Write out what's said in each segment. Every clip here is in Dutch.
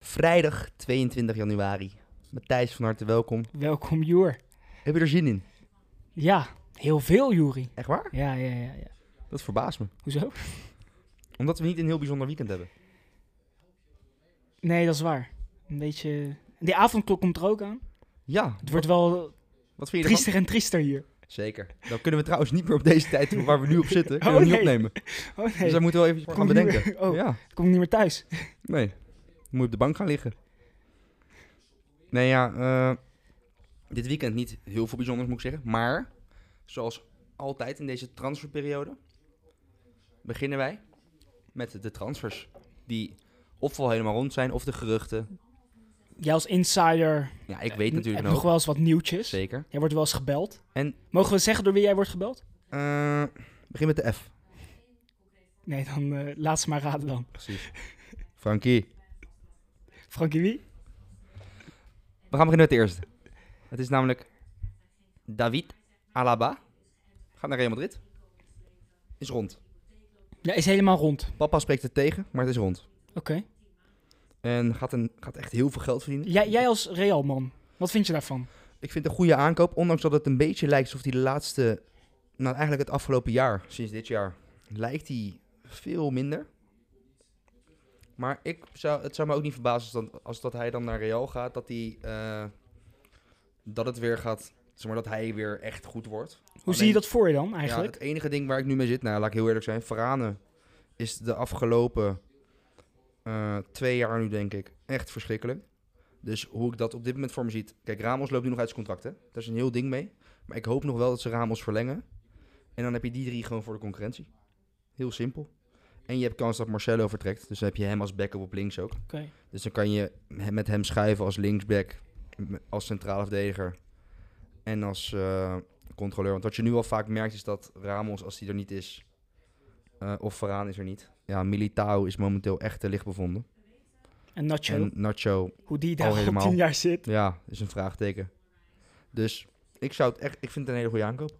Vrijdag 22 januari. Matthijs van harte welkom. Welkom, Joer. Heb je er zin in? Ja, heel veel, Juri. Echt waar? Ja, ja, ja, ja. Dat verbaast me. Hoezo? Omdat we niet een heel bijzonder weekend hebben. Nee, dat is waar. Een beetje... Die avondklok komt er ook aan. Ja, Het wordt wel wat vind je ervan? triester en triester hier. Zeker. Dan kunnen we trouwens niet meer op deze tijd doen waar we nu op zitten. Kunnen we Oh, niet nee. opnemen. Oh nee, Dus daar moeten we wel even gaan Kom hier. bedenken. Oh. Ja, kom ik niet meer thuis. nee. Dan moet je op de bank gaan liggen. Nee ja, eh, dit weekend niet heel veel bijzonders moet ik zeggen. Maar, zoals altijd in deze transferperiode, beginnen wij met de transfers. Die ofwel helemaal rond zijn, of de geruchten. Jij als insider Ja, ik weet heb natuurlijk nog wel eens wat nieuwtjes. Zeker. Jij wordt wel eens gebeld. En- Mogen we zeggen door wie jij wordt gebeld? Eh, begin met de F. Nee, dan eh, laat ze maar raden dan. Precies. Frankie. Frankie wie? We gaan beginnen met de eerste. Het is namelijk David Alaba. Gaat naar Real Madrid. Is rond. Ja, is helemaal rond. Papa spreekt het tegen, maar het is rond. Oké. En gaat, een, gaat echt heel veel geld verdienen. Jij, jij als Real-man, wat vind je daarvan? Ik vind het een goede aankoop, ondanks dat het een beetje lijkt alsof hij de laatste... Nou, eigenlijk het afgelopen jaar, sinds dit jaar, lijkt hij veel minder. Maar ik zou, het zou me ook niet verbazen als, dat, als dat hij dan naar Real gaat, dat hij... eh, dat het weer gaat... Zeg maar dat hij weer echt goed wordt. Hoe zie Alleen- je dat voor je dan eigenlijk? Ja, het enige ding waar ik nu mee zit, nou laat ik heel eerlijk zijn, Varane is de afgelopen eh, twee jaar nu denk ik echt verschrikkelijk. Dus hoe ik dat op dit moment voor me ziet. Kijk, Ramos loopt nu nog uit zijn contract, hè? Daar is een heel ding mee. Maar ik hoop nog wel dat ze Ramos verlengen. En dan heb je die drie gewoon voor de concurrentie. Heel simpel. En je hebt kans dat Marcelo vertrekt. Dus dan heb je hem als backup op links ook. Oké. Dus dan kan je hem- met hem schuiven als linksback, m- als centrale verdediger en als eh, controleur. Want wat je nu al vaak merkt is dat Ramos, als hij er niet is, eh, of Varaan is er niet. Ja, Militao is momenteel echt te licht bevonden. En Nacho, En Nacho, hoe die daar al al helemaal. tien jaar zit. ja, is een vraagteken. Dus ik zou het echt, ik vind het een hele goede aankoop.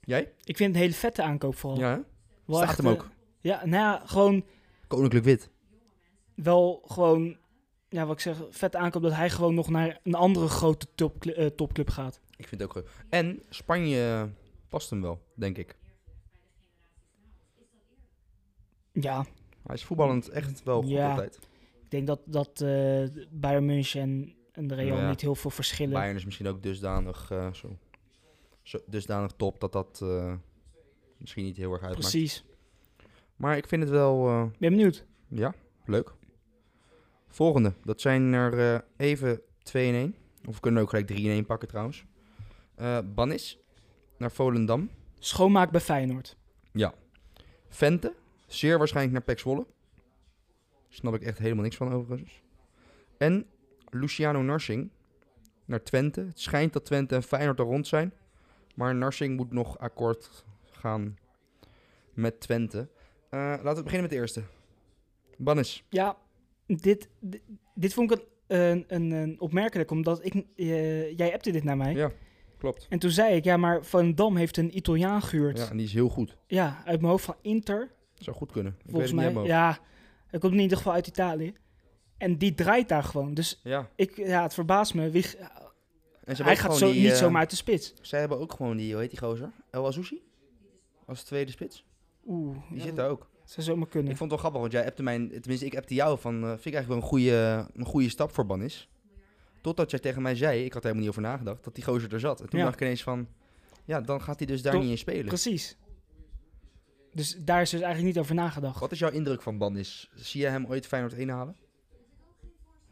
Jij? Ik vind het een hele vette aankoop vooral. Ja, hè? Oh. Wel Staat echt, hem eh, ook. Ja, nou ja, gewoon Koninklijk wit. wel gewoon, ja, wat ik zeg, vet aankoop dat hij gewoon nog naar een andere grote topcl- eh, topclub gaat. Ik vind het ook goed. En Spanje past hem wel, denk ik. Ja, Hij is voetballend echt wel goed Ja. altijd. ik denk dat, dat eh, Bayern München en, en de Real Ja. niet heel veel verschillen. Bayern is misschien ook dusdanig, eh, zo, zo- dusdanig top dat dat eh, misschien niet heel erg uitmaakt. Precies. Maar ik vind het wel, eh, Ben je benieuwd? ja, leuk. Volgende, dat zijn er eh, even 2 in 1. Of we kunnen ook gelijk 3 in 1 pakken trouwens. Eh, Bannis naar Volendam. Schoonmaak bij Feyenoord. Vente, zeer waarschijnlijk naar Pek Zwolle. Snap ik echt helemaal niks van overigens. En Luciano Narsing naar Twente. Het schijnt dat Twente en Feyenoord er rond zijn. Maar Narsing moet nog akkoord gaan met Twente. Eh, laten we beginnen met de eerste. Bannis. Ja, dit, dit, dit vond ik een, een, een, een opmerkelijk, omdat ik, eh, jij appte dit naar mij. Ja, klopt. En toen zei ik, ja, maar Van Dam heeft een Italiaan gehuurd. Ja, Ja, en die is heel goed. uit mijn hoofd van Inter. Zou goed kunnen. Ik Volgens weet mij. het niet helemaal. Ja, hij komt in ieder geval uit Italië. En die draait daar gewoon. Dus Ja. ik, ja, het verbaast me. Wie, En ze hebben hij ook gaat gewoon zo, die, niet eh, zomaar uit de spits. Zij hebben ook gewoon die, hoe heet die gozer? El Azouzi? Als tweede spits. Oeh, Die ja, zit daar ook. dat zou zomaar kunnen. Ik vond het wel grappig, want jij appte mij, tenminste ik appte jou van, eh, vind ik eigenlijk wel een goede, een goede stap voor Bannis. Totdat jij tegen mij zei, ik had er helemaal niet over nagedacht, dat die gozer er zat. En toen Ja. dacht ik ineens van, ja, dan gaat hij dus daar Toch? niet in spelen. Precies. Dus daar is dus eigenlijk niet over nagedacht. Wat is jouw indruk van Bannis? Zie jij hem ooit Feyenoord inhalen?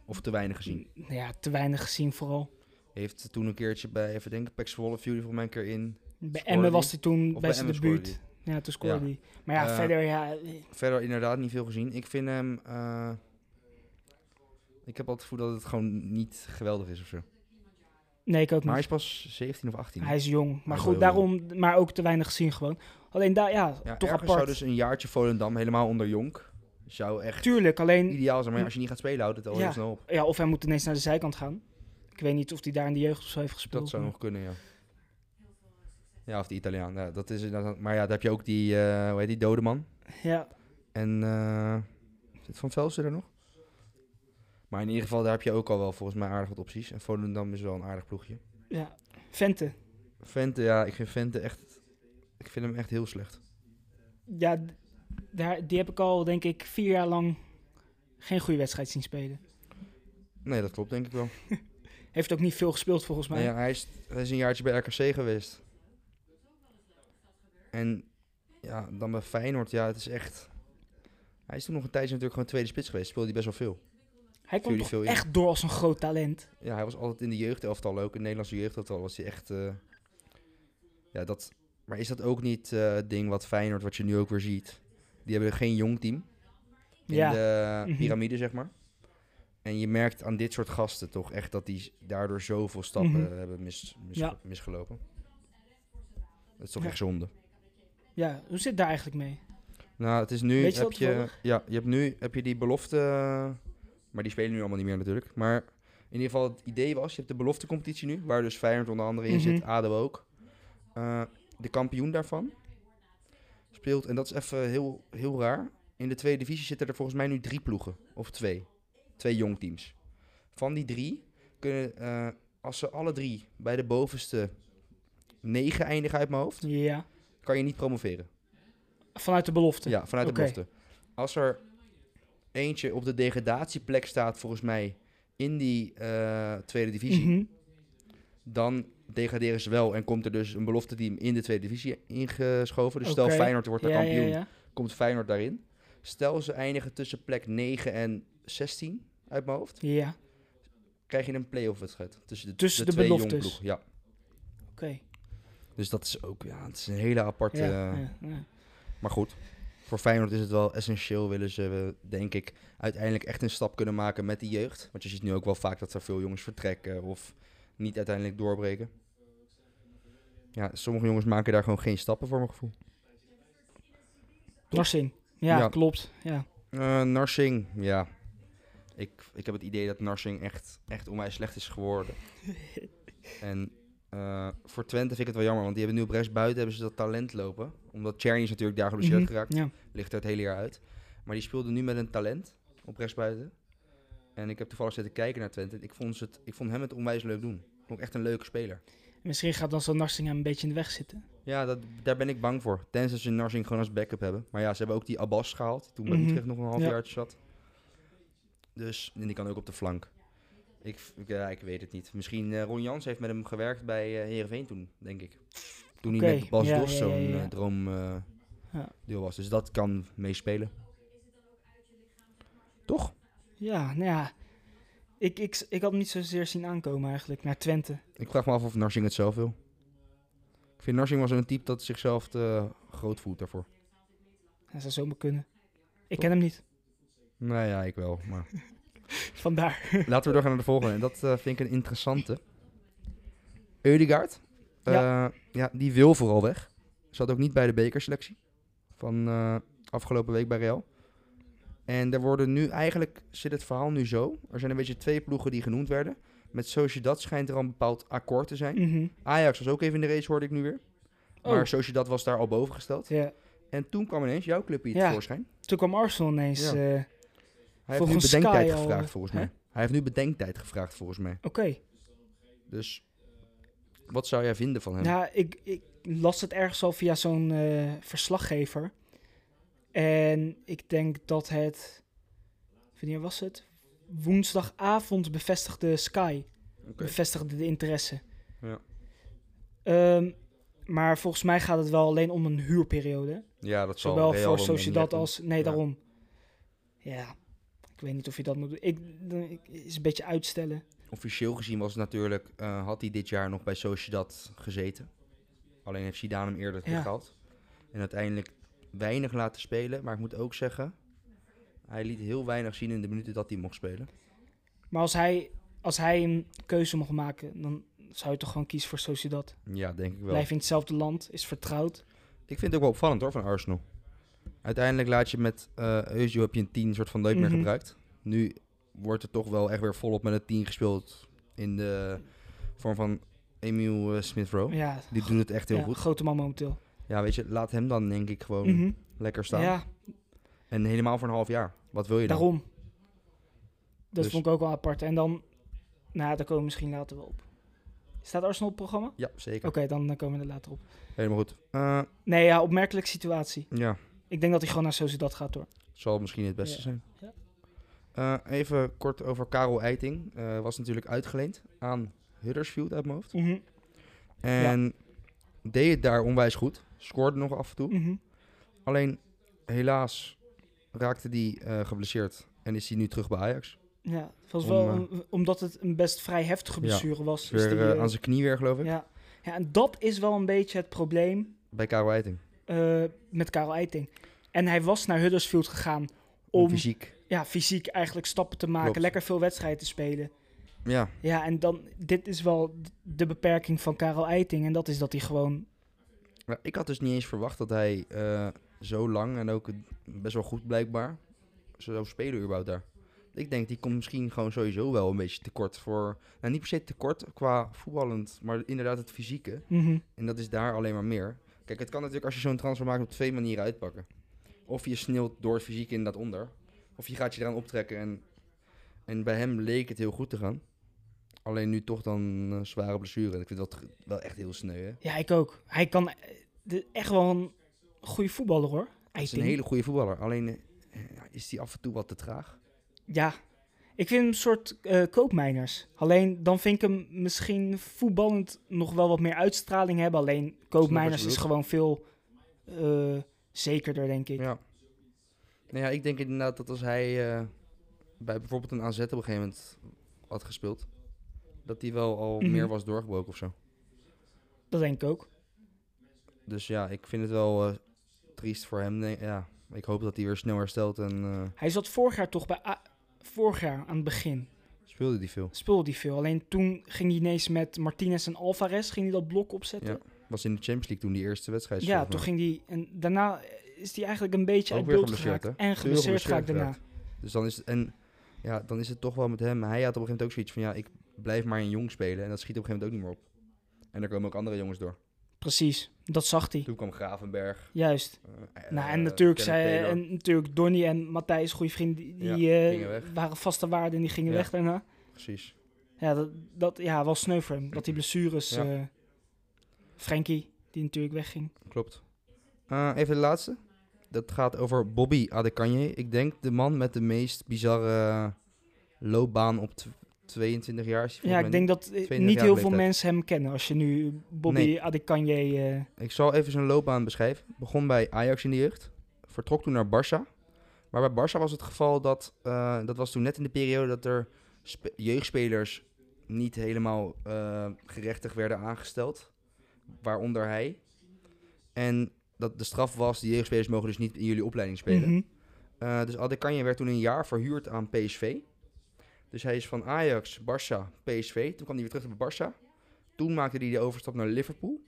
Of te weinig gezien? Nou Ja, te weinig gezien vooral. Heeft toen een keertje bij, even denken, Pek Zwolle viel hij volgens mij een keer in. Bij Scoorde Emmen die? was hij toen Of bij zijn Emmen scoorde debuut. hij. Ja, toen scoorde Ja. hij. Maar ja, Eh, verder, ja... Verder inderdaad niet veel gezien. Ik vind hem... eh, ik heb altijd het gevoel dat het gewoon niet geweldig is of zo. Nee, ik ook Maar niet. hij is pas 17 of 18. Hij is jong. Maar is goed, wel heel daarom, maar ook te weinig gezien gewoon. Alleen daar, ja, ja, toch ergens apart. zou dus een jaartje Volendam helemaal onder Jonk. Zou echt Tuurlijk, alleen, ideaal zijn. Maar ja, als je niet gaat spelen, houdt het al Ja. heel snel op. ja, of hij moet ineens naar de zijkant gaan. Ik weet niet of hij daar in de jeugd of zo heeft gespeeld. Dat zou maar- nog kunnen, ja. Ja, of de Italiaan. Ja, dat is inderdaad- maar ja, daar heb je ook die, eh, hoe heet die, dode man. Ja, En eh, zit Van Velsen er nog? Maar in ieder geval, daar heb je ook al wel volgens mij aardig wat opties. En Volendam is wel een aardig ploegje. ja. Vente. Vente, ja, ik vind Vente echt... Ik vind hem echt heel slecht. Ja, d- daar, die heb ik al, denk ik, vier jaar lang geen goede wedstrijd zien spelen. Nee, dat klopt denk ik wel. Heeft ook niet veel gespeeld volgens mij. Nee, ja, hij, is, hij is een jaartje bij RKC geweest. En ja, dan bij Feyenoord, ja, het is echt... Hij is toen nog een tijdje natuurlijk gewoon tweede spits geweest. Speelde hij best wel veel. viel hij kwam die toch veel in? echt door als een groot talent. Ja, hij was altijd in de jeugdelftal ook. In het Nederlandse jeugdelftal was hij echt... eh, ja, dat... Maar is dat ook niet eh, het ding wat Feyenoord, wat je nu ook weer ziet? Die hebben geen jong team in ja, de Mhm. piramide, zeg maar. En je merkt aan dit soort gasten toch echt dat die daardoor zoveel stappen Mhm. hebben mis, mis- Ja. misgelopen. Dat is toch Ja. echt zonde. ja, hoe zit daar eigenlijk mee? Nou, het is nu. Weet je heb dat je, toevallig? ja, je hebt nu heb je die belofte. eh, Maar die spelen nu allemaal niet meer natuurlijk. Maar in ieder geval, het idee was: je hebt de beloftecompetitie nu, waar dus Feyenoord onder andere in zit, Mhm. ADO ook. Eh, de kampioen daarvan speelt, en dat is even heel, heel raar. In de tweede divisie zitten er volgens mij nu drie ploegen, of twee. Twee jongteams. Van die drie kunnen, eh, als ze alle drie bij de bovenste negen eindigen uit mijn hoofd, Ja, kan je niet promoveren. vanuit de belofte. Ja, vanuit Oké. de belofte. Als er eentje op de degradatieplek staat, volgens mij, in die eh, tweede divisie, Mhm. dan degraderen ze wel en komt er dus een belofte team in de tweede divisie ingeschoven. Dus Oké. stel Feyenoord wordt daar ja, kampioen, ja, ja. komt Feyenoord daarin. Stel ze eindigen tussen plek 9 en 16 uit mijn hoofd, Ja, krijg je een play-off wedstrijd tussen de, Tussen de twee beloftes. jongploegen. Ja. oké. Dus dat is ook ja, het is een hele aparte. Ja, eh, ja, ja. Maar goed, voor Feyenoord is het wel essentieel. Willen ze, eh, denk ik, uiteindelijk echt een stap kunnen maken met de jeugd. Want je ziet nu ook wel vaak dat er veel jongens vertrekken of niet uiteindelijk doorbreken. Ja, sommige jongens maken daar gewoon geen stappen voor mijn gevoel. Narsing. Ja, Ja. klopt. Ja. Eh, Narsing, ja. Ik, ik heb het idee dat Narsing echt, echt onwijs slecht is geworden. en eh, voor Twente vind ik het wel jammer, want die hebben nu op rechts buiten hebben ze dat talent lopen. Omdat Cherry is natuurlijk daar geblesseerd Mhm. geraakt. Ja. ligt er het hele jaar uit. Maar die speelde nu met een talent op rechtsbuiten. En ik heb toevallig zitten kijken naar Twente. Ik vond, ze het, ik vond hem het onwijs leuk doen. Ik vond hem echt een leuke speler. Misschien gaat dan zo'n Narsing hem een beetje in de weg zitten. Ja, dat, daar ben ik bang voor. Tenzij ze Narsing gewoon als backup hebben. Maar ja, ze hebben ook die Abbas gehaald. die Toen bij Mhm. Utrecht nog een half Ja. jaar zat. Dus, en die kan ook op de flank. Ik, ik, ja, ik weet het niet. Misschien eh, Ron Jans heeft met hem gewerkt bij eh, Heerenveen toen, denk ik. Toen Oké, hij met Bas ja, Dos ja, ja, zo'n ja. eh, droom eh, Ja. deel was. Dus dat kan meespelen. Toch? Ja, nou ja. Ik, ik, ik had hem niet zozeer zien aankomen eigenlijk naar Twente. Ik vraag me af of Narsing het zelf wil. Ik vind Narsing wel zo'n type dat zichzelf te eh, groot voelt daarvoor. Dat zou zomaar kunnen. Ik ken hem niet. Nou ja, ik wel. Maar Vandaar. laten we doorgaan naar de volgende. En dat eh, vind ik een interessante. Eudegaard. Eh, ja. die wil vooral weg. Zat ook niet bij de bekerselectie van eh, afgelopen week bij Real. En er worden nu eigenlijk, zit het verhaal nu zo. Er zijn een beetje twee ploegen die genoemd werden. Met Sociedad schijnt er al een bepaald akkoord te zijn. Mhm. Ajax was ook even in de race, hoorde ik nu weer. Maar Oh. Sociedad was daar al boven gesteld. Ja. En toen kwam ineens jouw clubje Ja. tevoorschijn. Toen kwam Arsenal ineens. Ja. eh, Hij Volgens heeft nu bedenktijd Sky al, gevraagd, eh, volgens hè? mij. Hij heeft nu bedenktijd gevraagd, volgens mij. Oké. Dus wat zou jij vinden van hem? Ja, Nou, ik, ik las het ergens al via zo'n eh, verslaggever. En ik denk dat het. Wanneer was het? Woensdagavond bevestigde Sky. Oké. Bevestigde de interesse. Ja. Ehm, maar volgens mij gaat het wel alleen om een huurperiode. Ja, dat zal Zowel Real voor wel meer Sociedad doen. als... Nee, Ja. daarom. Ja, ik weet niet of je dat moet doen. Ik, ik- is een beetje uitstellen. Officieel gezien was het natuurlijk, eh, had hij dit jaar nog bij Sociedad gezeten. Alleen heeft Zidane hem eerder Ja. weggehaald. En uiteindelijk weinig laten spelen. Maar ik moet ook zeggen, hij liet heel weinig zien in de minuten dat hij mocht spelen. Maar als hij, als hij een keuze mocht maken, dan zou je toch gewoon kiezen voor Sociedad. Ja, denk ik wel. Blijf in hetzelfde land, is vertrouwd. Ik vind het ook wel opvallend hoor, van Arsenal. Uiteindelijk laat je met eh Eusio heb je een 10 soort van nooit meer Mhm. gebruikt. Nu wordt er toch wel echt weer volop met een 10 gespeeld in de vorm van Emil Smith-Rowe. Ja, Die doet het echt heel ja, Oh. goed. grote man momenteel. Ja, weet je, laat hem dan denk ik gewoon Mhm. lekker staan. Ja, En helemaal voor een half jaar. Wat wil je dan? daarom. Dat Dus- vond ik ook wel apart. En dan, nou, daar komen we misschien later wel op. Staat Arsenal op het programma? Ja, zeker. Oké, dan eh, komen we er later op. Helemaal goed. Eh, Nee, ja, opmerkelijke situatie. ja, Ik denk dat hij gewoon naar Sociedad gaat hoor. zal misschien het beste Ja. zijn. Ja. Eh, even kort over Karel Eiting. Eh, was natuurlijk uitgeleend aan Huddersfield uit mijn hoofd. Mhm, En deed het daar onwijs goed. Scoorde nog af en toe. mhm. Alleen, helaas raakte die eh, geblesseerd. En is hij nu terug bij Ajax. Ja, het was Om, wel eh, een- omdat het een best vrij heftige Ja, blessure was. Is is weer die, eh, eh, aan zijn knie weer, geloof ik. ja. ja, en dat is wel een beetje het probleem Bij Karel Eiting. eh, met Karel Eiting. En hij was naar Huddersfield gegaan om Fysiek. ja, fysiek eigenlijk stappen te maken, Klopt. lekker veel wedstrijden te spelen. Ja, Ja, en dan, dit is wel d- de beperking van Karel Eiting. En dat is dat hij gewoon, Maar ik had dus niet eens verwacht dat hij eh, zo lang en ook best wel goed blijkbaar zou spelen überhaupt daar. Ik denk, die komt misschien gewoon sowieso wel een beetje tekort voor... Nou, niet per se tekort qua voetballend, maar inderdaad het fysieke. mhm, En dat is daar alleen maar meer. Kijk, het kan natuurlijk als je zo'n transfer maakt op twee manieren uitpakken. Of je sneelt door het fysiek in dat onder. Of je gaat je eraan optrekken. En, en bij hem leek het heel goed te gaan. Alleen nu toch dan een zware blessure. En ik vind dat ge- wel echt heel sneu, hè? ja, ik ook. Hij kan eh, de- echt wel een goede voetballer hoor. Hij is Eiting. een hele goede voetballer. Alleen eh, ja, is hij af en toe wat te traag. Ja, ik vind hem een soort eh koopmijners. Alleen dan vind ik hem misschien voetballend nog wel wat meer uitstraling hebben. Alleen koopmijners je is bedoelt. gewoon veel eh, zekerder, denk ik. Ja. Nou ja, ik denk inderdaad dat als hij eh, bij bijvoorbeeld een AZ op een gegeven moment had gespeeld... dat hij wel al Mhm. meer was doorgebroken of zo. Dat denk ik ook. Dus ja, ik vind het wel eh, triest voor hem. Nee, ja, ik hoop dat hij weer snel herstelt en eh, Hij zat vorig jaar toch bij... A- vorig jaar, aan het begin, speelde hij veel. speelde hij veel. Alleen toen ging hij ineens met Martinez en Alvarez ging hij dat blok opzetten. Was in de Champions League toen die eerste wedstrijd. Ja, volgens toen mij. ging hij... En daarna is hij eigenlijk een beetje Ook uit weer beeld geblesseerd, geraakt. hè? En geblesseerd geraakt geblesseerd daarna. Dus dan is het, en ja, dan is het toch wel met hem. Hij had op een gegeven moment ook zoiets van, ja, ik blijf maar een jong spelen. En dat schiet op een gegeven moment ook niet meer op. En daar komen ook andere jongens door. Precies, dat zag hij. Toen kwam Gravenberg. Juist. eh, Nou, en eh, natuurlijk, Kenneth zij, Taylor. en natuurlijk Donny en Matthijs, goede vrienden, die Ja, die, eh, gingen weg. waren vaste waarden en die gingen Ja. weg daarna. Precies. Ja, dat, dat ja, was sneu voor hem. Dat die blessures. Ja. eh, Frankie, die natuurlijk wegging. Klopt. Eh, even de laatste. Dat gaat over Bobby Adekanje. Ik denk de man met de meest bizarre loopbaan op tw- 22 jaar. is hij Ja, volgens mij ik denk dat eh, 32 niet jaar heel veel leeftijd. mensen hem kennen als je nu Bobby Nee. Adekanje. eh, Ik zal even zijn loopbaan beschrijven. Begon bij Ajax in de jeugd. Vertrok toen naar Barça. Maar bij Barça was het geval dat... eh, dat was toen net in de periode dat er spe- jeugdspelers niet helemaal eh, gerechtig werden aangesteld. Waaronder hij. En dat de straf was, die jeugdspelers mogen dus niet in jullie opleiding spelen. mhm. Eh, dus Adekanje werd toen een jaar verhuurd aan PSV. Dus hij is van Ajax, Barça, PSV. Toen kwam hij weer terug naar Barça. Toen maakte hij de overstap naar Liverpool.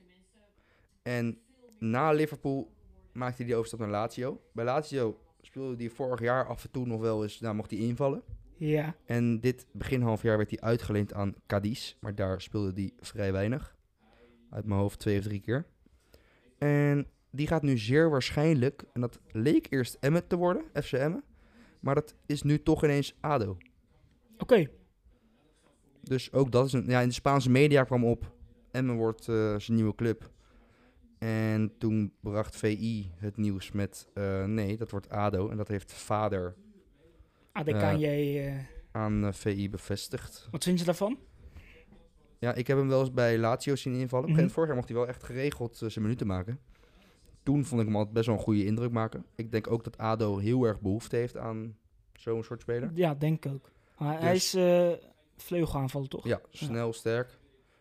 En na Liverpool maakte hij de overstap naar Lazio. Bij Lazio speelde hij vorig jaar af en toe nog wel eens, nou mocht hij invallen. Ja, En dit begin half jaar werd hij uitgeleend aan Cadiz. Maar daar speelde hij vrij weinig. Uit mijn hoofd twee of drie keer. En die gaat nu zeer waarschijnlijk, en dat leek eerst Emmet te worden, FC Emmen. Maar dat is nu toch ineens ADO. oké. Dus ook dat is een... Ja, in de Spaanse media kwam op, Emmen wordt eh, zijn nieuwe club. En toen bracht VI het nieuws met, eh, nee, dat wordt ADO. En dat heeft vader Adekanje, eh, aan eh, VI bevestigd. wat vind je daarvan? Ja, ik heb hem wel eens bij Lazio zien invallen. Op een gegeven moment Mhm. Vorig jaar mocht hij wel echt geregeld eh, zijn minuten maken. Toen vond ik hem altijd best wel een goede indruk maken. Ik denk ook dat ADO heel erg behoefte heeft aan zo'n soort speler. Ja, denk ik ook. Maar Hij Dus- is eh vleugelaanvallen, toch? Ja, snel, sterk.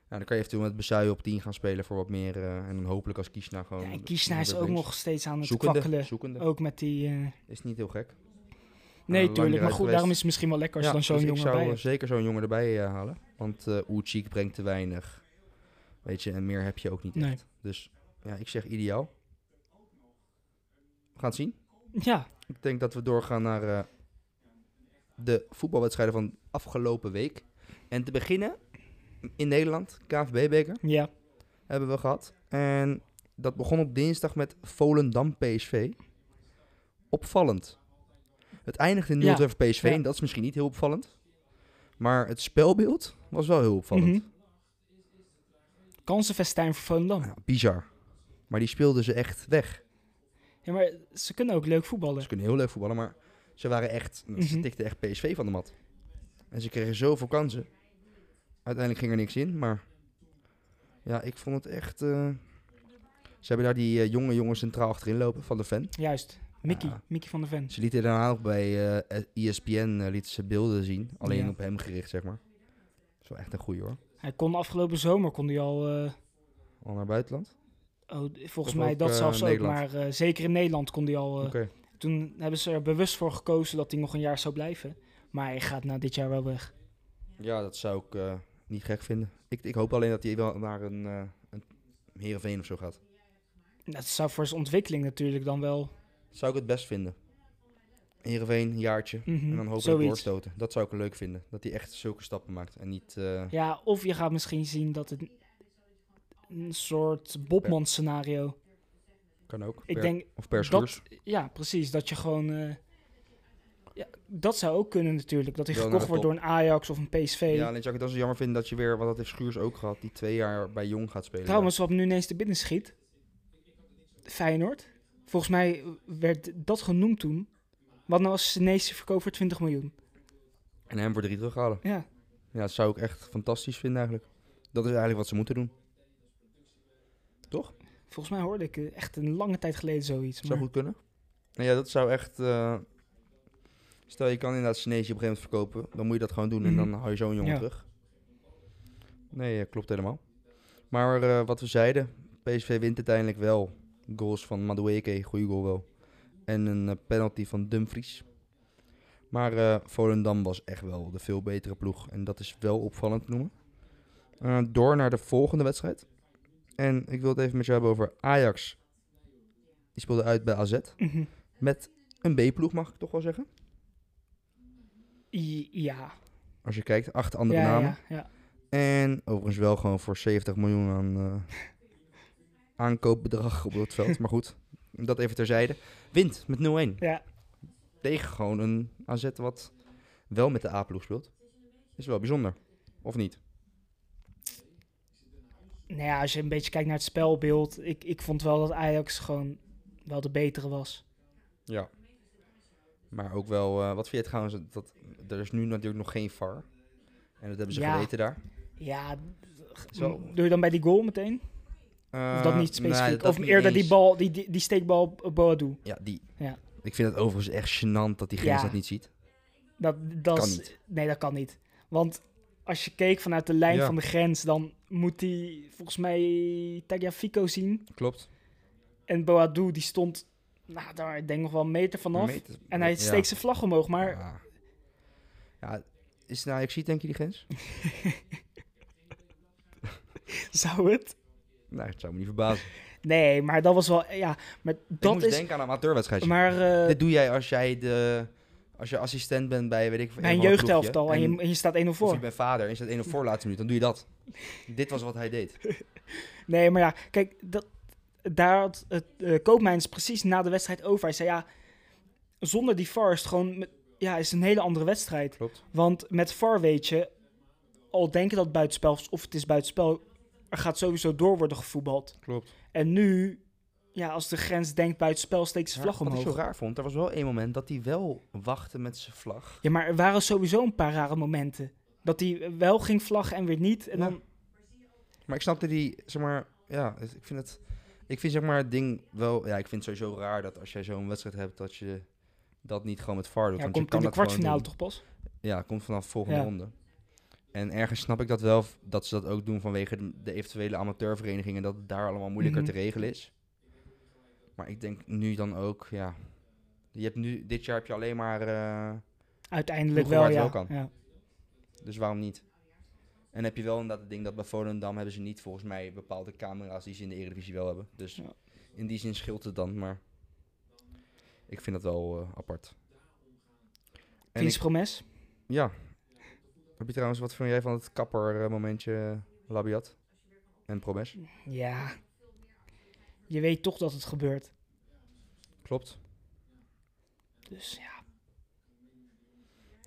dan kan je eventueel met Bezuijen op 10 gaan spelen voor wat meer. eh, en dan hopelijk als Kiesna gewoon. Ja, en de- Kiesna is weer ook links. nog steeds aan het zoekende. kwakkelen. Zoekende. Ook met die... eh, Is niet heel gek. lang nee, niet tuurlijk. Maar eruit goed, Eh, geweest. daarom is het misschien wel lekker als je dan zo'n dus jongen ik zou bij eh, hebt. zeker zo'n jongen erbij eh, halen. Want eh Oetjeek brengt te weinig. Weet je, en meer heb je ook niet Nee. echt. Dus ja, ik zeg ideaal. We gaan het zien. Ja, Ik denk dat we doorgaan naar eh, de voetbalwedstrijden van afgelopen week. En te beginnen in Nederland, KVB-beker, ja. hebben we gehad. En dat begon op dinsdag met Volendam-PSV. Opvallend. Het eindigde in 0-2 Ja, voor PSV ja. en dat is misschien niet heel opvallend. Maar het spelbeeld was wel heel opvallend. mhm. Kansenfestijn voor Volendam. Ja, Nou, bizar. Maar die speelden ze echt weg. Ja, maar ze kunnen ook leuk voetballen. Ze kunnen heel leuk voetballen, maar ze waren echt, ze Mhm. tikten echt PSV van de mat. En ze kregen zoveel kansen. Uiteindelijk ging er niks in, maar ja, ik vond het echt. eh, Ze hebben daar die eh, jonge jongen centraal achterin lopen van de fan. Juist. Mickey, Ja. Mickey van der Ven. Ze lieten daarna ook bij eh, ESPN eh, lieten ze beelden zien, alleen Ja. op hem gericht, zeg maar. Dat is wel echt een goeie hoor. Hij kon afgelopen zomer kon hij al, eh, Al naar buitenland. oh, d- volgens Of mij ook, dat eh, zelfs ook, Nederland. maar eh, zeker in Nederland kon hij al. eh, Oké. Toen hebben ze er bewust voor gekozen dat hij nog een jaar zou blijven. Maar hij gaat na dit jaar wel weg. Ja, dat zou ik eh, niet gek vinden. Ik, ik hoop alleen dat hij wel naar een, eh een Heerenveen of zo gaat. Dat zou voor zijn ontwikkeling natuurlijk dan wel. Zou ik het best vinden. Heerenveen, een jaartje. Mhm, En dan hopelijk zoiets. doorstoten. Dat zou ik leuk vinden. Dat hij echt zulke stappen maakt. En niet... eh, Ja, of je gaat misschien zien dat het een soort Bobman scenario. Kan ook. Ik per- denk, of per dat- schuurs. ja, precies, dat je gewoon... eh, ja, dat zou ook kunnen natuurlijk, dat hij Wel naar gekocht de wordt door een Ajax of een PSV. Ja, alleen zou ik het dan zo jammer vinden dat je weer... Want dat heeft Schuurs ook gehad. Die twee jaar bij Jong gaat spelen. Trouwens, wat me nu ineens te binnen schiet. Feyenoord. Volgens mij werd dat genoemd toen. Wat nou als ze ineens te verkoop voor 20 miljoen? En hem voor drie terughalen. Ja. Ja, dat zou ik echt fantastisch vinden eigenlijk. Dat is eigenlijk wat ze moeten doen. Volgens mij hoorde ik eh, echt een lange tijd geleden zoiets. Zou Maar... goed kunnen. Nou ja, dat zou echt... eh, stel, je kan inderdaad Chineesje op een gegeven moment verkopen. Dan moet je dat gewoon doen en Mhm. dan hou je zo'n jongen Ja. terug. Nee, eh, klopt helemaal. Maar eh, wat we zeiden, PSV wint uiteindelijk wel. Goals van Madueke, goede goal wel. En een eh, penalty van Dumfries. Maar eh, Volendam was echt wel de veel betere ploeg. En dat is wel opvallend te noemen. Eh, door naar de volgende wedstrijd. En ik wil het even met jou hebben over Ajax. Die speelde uit bij AZ. Mhm. Met een B-ploeg, mag ik toch wel zeggen. I- ja. Als je kijkt, acht andere ja, namen. ja, ja. En overigens wel gewoon voor 70 miljoen aan eh, aankoopbedrag op het veld. Maar goed, dat even terzijde. Wint met 0-1. Ja. Tegen gewoon een AZ wat wel met de A-ploeg speelt. Is wel bijzonder. Of niet? Nou ja, als je een beetje kijkt naar het spelbeeld. Ik, ik vond wel dat Ajax gewoon wel de betere was. Ja. Maar ook wel, eh, wat vind je trouwens, dat, er is nu natuurlijk nog geen VAR. En dat hebben ze Ja. geweten daar. Ja, d- Zo. doe je dan bij die goal meteen? Of dat Eh, niet specifiek? nee, dat of niet eerder die eens. bal, die, die, die steekbal op op Boadu? Ja, die. Ja. Ik vind het overigens echt gênant dat die grens Ja. dat niet ziet. Dat, dat Kan is- niet. Nee, dat kan niet. Want als je keek vanuit de lijn Ja. van de grens, dan moet hij volgens mij Tagliafico zien. Klopt. En Boadu, die stond nou, daar denk ik nog wel een meter vanaf. Meter- En hij ja. steekt zijn vlag omhoog, maar Ja. Ja, is het nou ik zie denk je die grens? zou het? nou, het zou me niet verbazen. Nee, maar dat was wel... Ja, maar ik dat moest is... denken aan een amateurwedstrijdje. Maar eh, Dit doe jij als jij de als je assistent bent bij weet ik bij een van wat ploegje. jeugdhelftal en, je, en je staat 1-0 of voor. je bent vader en je staat één of voor laatste minuut, dan doe je dat. Dit was wat hij deed. Nee, maar ja, kijk, dat, daar had het eh, Koopmijns precies na de wedstrijd over. Hij zei, ja, zonder die VAR is het gewoon... met- Ja, is het een hele andere wedstrijd. Klopt. Want met VAR weet je, al denken dat het buitenspel is of het is buitenspel, er gaat sowieso door worden gevoetbald. Klopt. En nu, ja, als de grens denkt buitenspel, steekt zijn vlag wat ik zo omhoog. raar vond, er was wel één moment dat hij wel wachtte met zijn vlag. Ja, maar er waren sowieso een paar rare momenten. Dat hij wel ging vlaggen en weer niet. En Ja. dan, Maar ik snapte die, zeg maar, ja, dus ik vind het, ik vind zeg maar het ding wel, ja, ik vind het sowieso raar dat als jij zo'n wedstrijd hebt, dat je dat niet gewoon met VAR doet. ja, want je komt kan in de dat gewoon kwartfinale doen. toch pas? Ja, komt vanaf de volgende Ja. ronde. En ergens snap ik dat wel, v- dat ze dat ook doen vanwege de- de eventuele amateurverenigingen, dat het daar allemaal moeilijker Mhm. te regelen is. Maar ik denk nu dan ook, ja. Je hebt nu, dit jaar heb je alleen maar. eh, Uiteindelijk wel, Ploegen ja. waar het wel ja. dus waarom niet? En heb je wel inderdaad het ding dat bij Volendam hebben ze niet volgens mij bepaalde camera's die ze in de Eredivisie wel hebben. Dus Ja. in die zin scheelt het dan, maar ik vind dat wel eh, apart. En Vince ik- Promes. ja. Heb je trouwens, wat vind jij van het kapper eh, momentje eh, Labiat en Promes? Ja. Je weet toch dat het gebeurt. Klopt. Dus ja.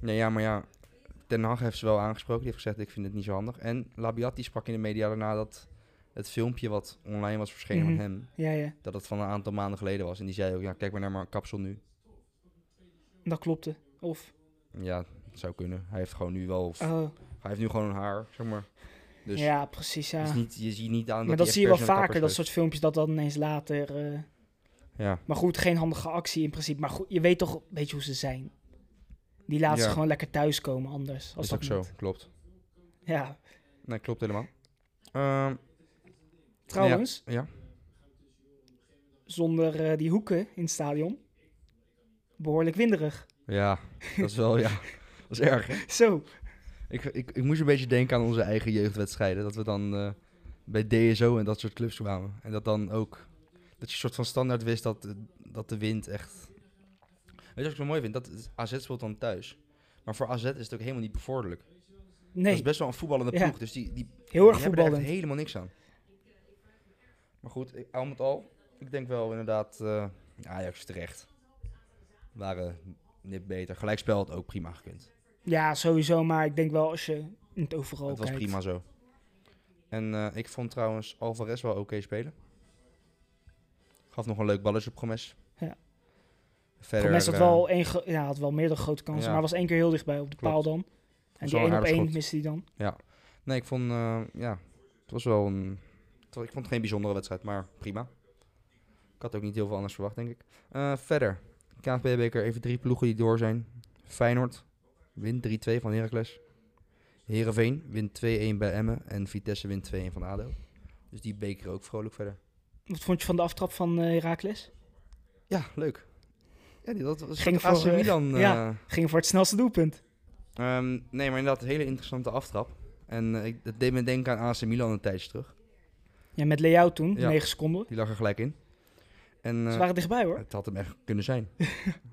Nee, ja, maar ja, Ten Hag heeft ze wel aangesproken. Die heeft gezegd, ik vind het niet zo handig. En Labiat die sprak in de media daarna dat het filmpje wat online was verschenen Mhm. van hem, Ja, ja. dat het van een aantal maanden geleden was. En die zei ook, ja, kijk maar naar mijn kapsel nu. Dat klopte. Of. Ja, het zou kunnen. Hij heeft gewoon nu wel, oh, hij heeft nu gewoon een haar, zeg maar. Dus ja, precies. het is Ja. niet, je ziet niet aan Maar dat dat hij zie je wel expres naar de vaker, dat kapper soort filmpjes, dat dan ineens later. eh, is. Ja, Maar goed, geen handige actie in principe. Maar goed, je weet toch een beetje hoe ze zijn. Die laten Ja. ze gewoon lekker thuiskomen anders. Als is dat ook zo. moet. Klopt. Ja, Nee, klopt helemaal. Ehm, trouwens. Ja, ja. Zonder eh, die hoeken in het stadion. Behoorlijk winderig. ja, dat is wel, ja, dat is erg. hè? Zo. Ik, ik, ik moest een beetje denken aan onze eigen jeugdwedstrijden. Dat we dan eh, bij DSO en dat soort clubs kwamen. En dat dan ook, dat je een soort van standaard wist dat, de- dat de wind echt... Weet je wat ik zo mooi vind? Dat het- AZ speelt dan thuis. Maar voor AZ is het ook helemaal niet bevorderlijk. Dat Nee, is best wel een voetballende Ja. ploeg. Dus die, die heel erg Die hebben er echt voetballend. helemaal niks aan. Maar goed, ik- al met al, ik denk wel inderdaad eh, Ajax terecht. Waren niet beter. Gelijkspel had ook prima gekund. Ja, sowieso. Maar ik denk wel als je in het overal Het was kijkt. prima zo. En eh, ik vond trouwens Alvarez wel oké spelen. Gaf nog een leuk balletje op Promes. Ja. Verder, Promes had eh, wel, één gro- ja, had wel meerdere grote kansen, Ja. maar was één keer heel dichtbij op de Klopt. paal dan. En was die wel een één op aardig één schot. miste hij dan. Nee, ik vond, eh, ja, het was wel een... het wa- Ik vond het geen bijzondere wedstrijd, maar prima. Ik had ook niet heel veel anders verwacht, denk ik. Eh, verder, KNVB-beker, even drie ploegen die door zijn. Feyenoord wint 3-2 van Heracles. Heerenveen wint 2-1 bij Emmen. En Vitesse wint 2-1 van ADO. Dus die beker ook vrolijk verder. Wat vond je van de aftrap van eh Herakles? Ja, leuk. Ja, die, dat was Ging Ging AC voor, eh, Milan. ja. eh, Ging voor het snelste doelpunt. Ehm, nee, maar inderdaad, een hele interessante aftrap. En eh, ik, dat deed me denken aan AC Milan een tijdje terug. Ja, met layout toen, Ja. 9 seconden. Die lag er gelijk in. En, Ze eh, waren dichtbij hoor. Het had hem echt kunnen zijn.